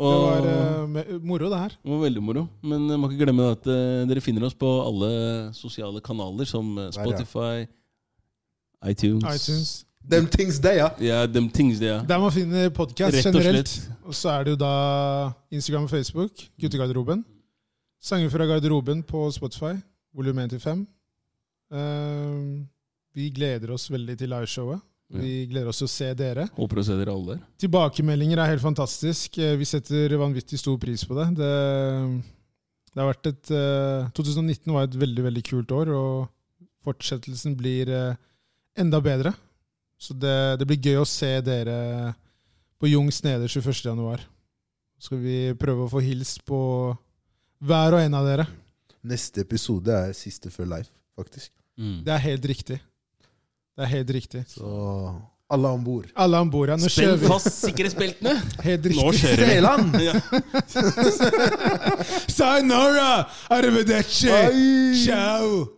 Det og, var eh, me- moro, det her. det var veldig moro. Men eh, må ikke glemme at eh, dere finner oss på alle sosiale kanaler, som eh, ja. Spotify, iTunes, iTunes. Them things they, ja. Ja, dem ting det er. Der man finner podkast Rett og generelt. slett. Og så er det jo da Instagram og Facebook. Guttegarderoben. Sanger fra garderoben på Spotify. Volum 1 til 5. Eh, vi gleder oss veldig til liveshowet. Vi gleder oss til å se dere. Håper å se dere alle der. Tilbakemeldinger er helt fantastisk. Eh, Vi setter vanvittig stor pris på det. Det, det har vært et eh, 2019 var et veldig, veldig kult år, og fortsettelsen blir eh, enda bedre. Så det, det blir gøy å se dere på Jungs nede 21. januar. Så skal vi prøve å få hilst på Hver og en av dere. Neste episode er siste før live, faktisk. Det er helt riktig. Det er helt riktig. Så alle om bord. Alle om bord, ja. Nå Spenn kjører vi. fast sikkerhetsbeltene. Helt Nå riktig. kjører vi. Seland! Ja. Sayonara! Arrivederci! Oi! Ciao!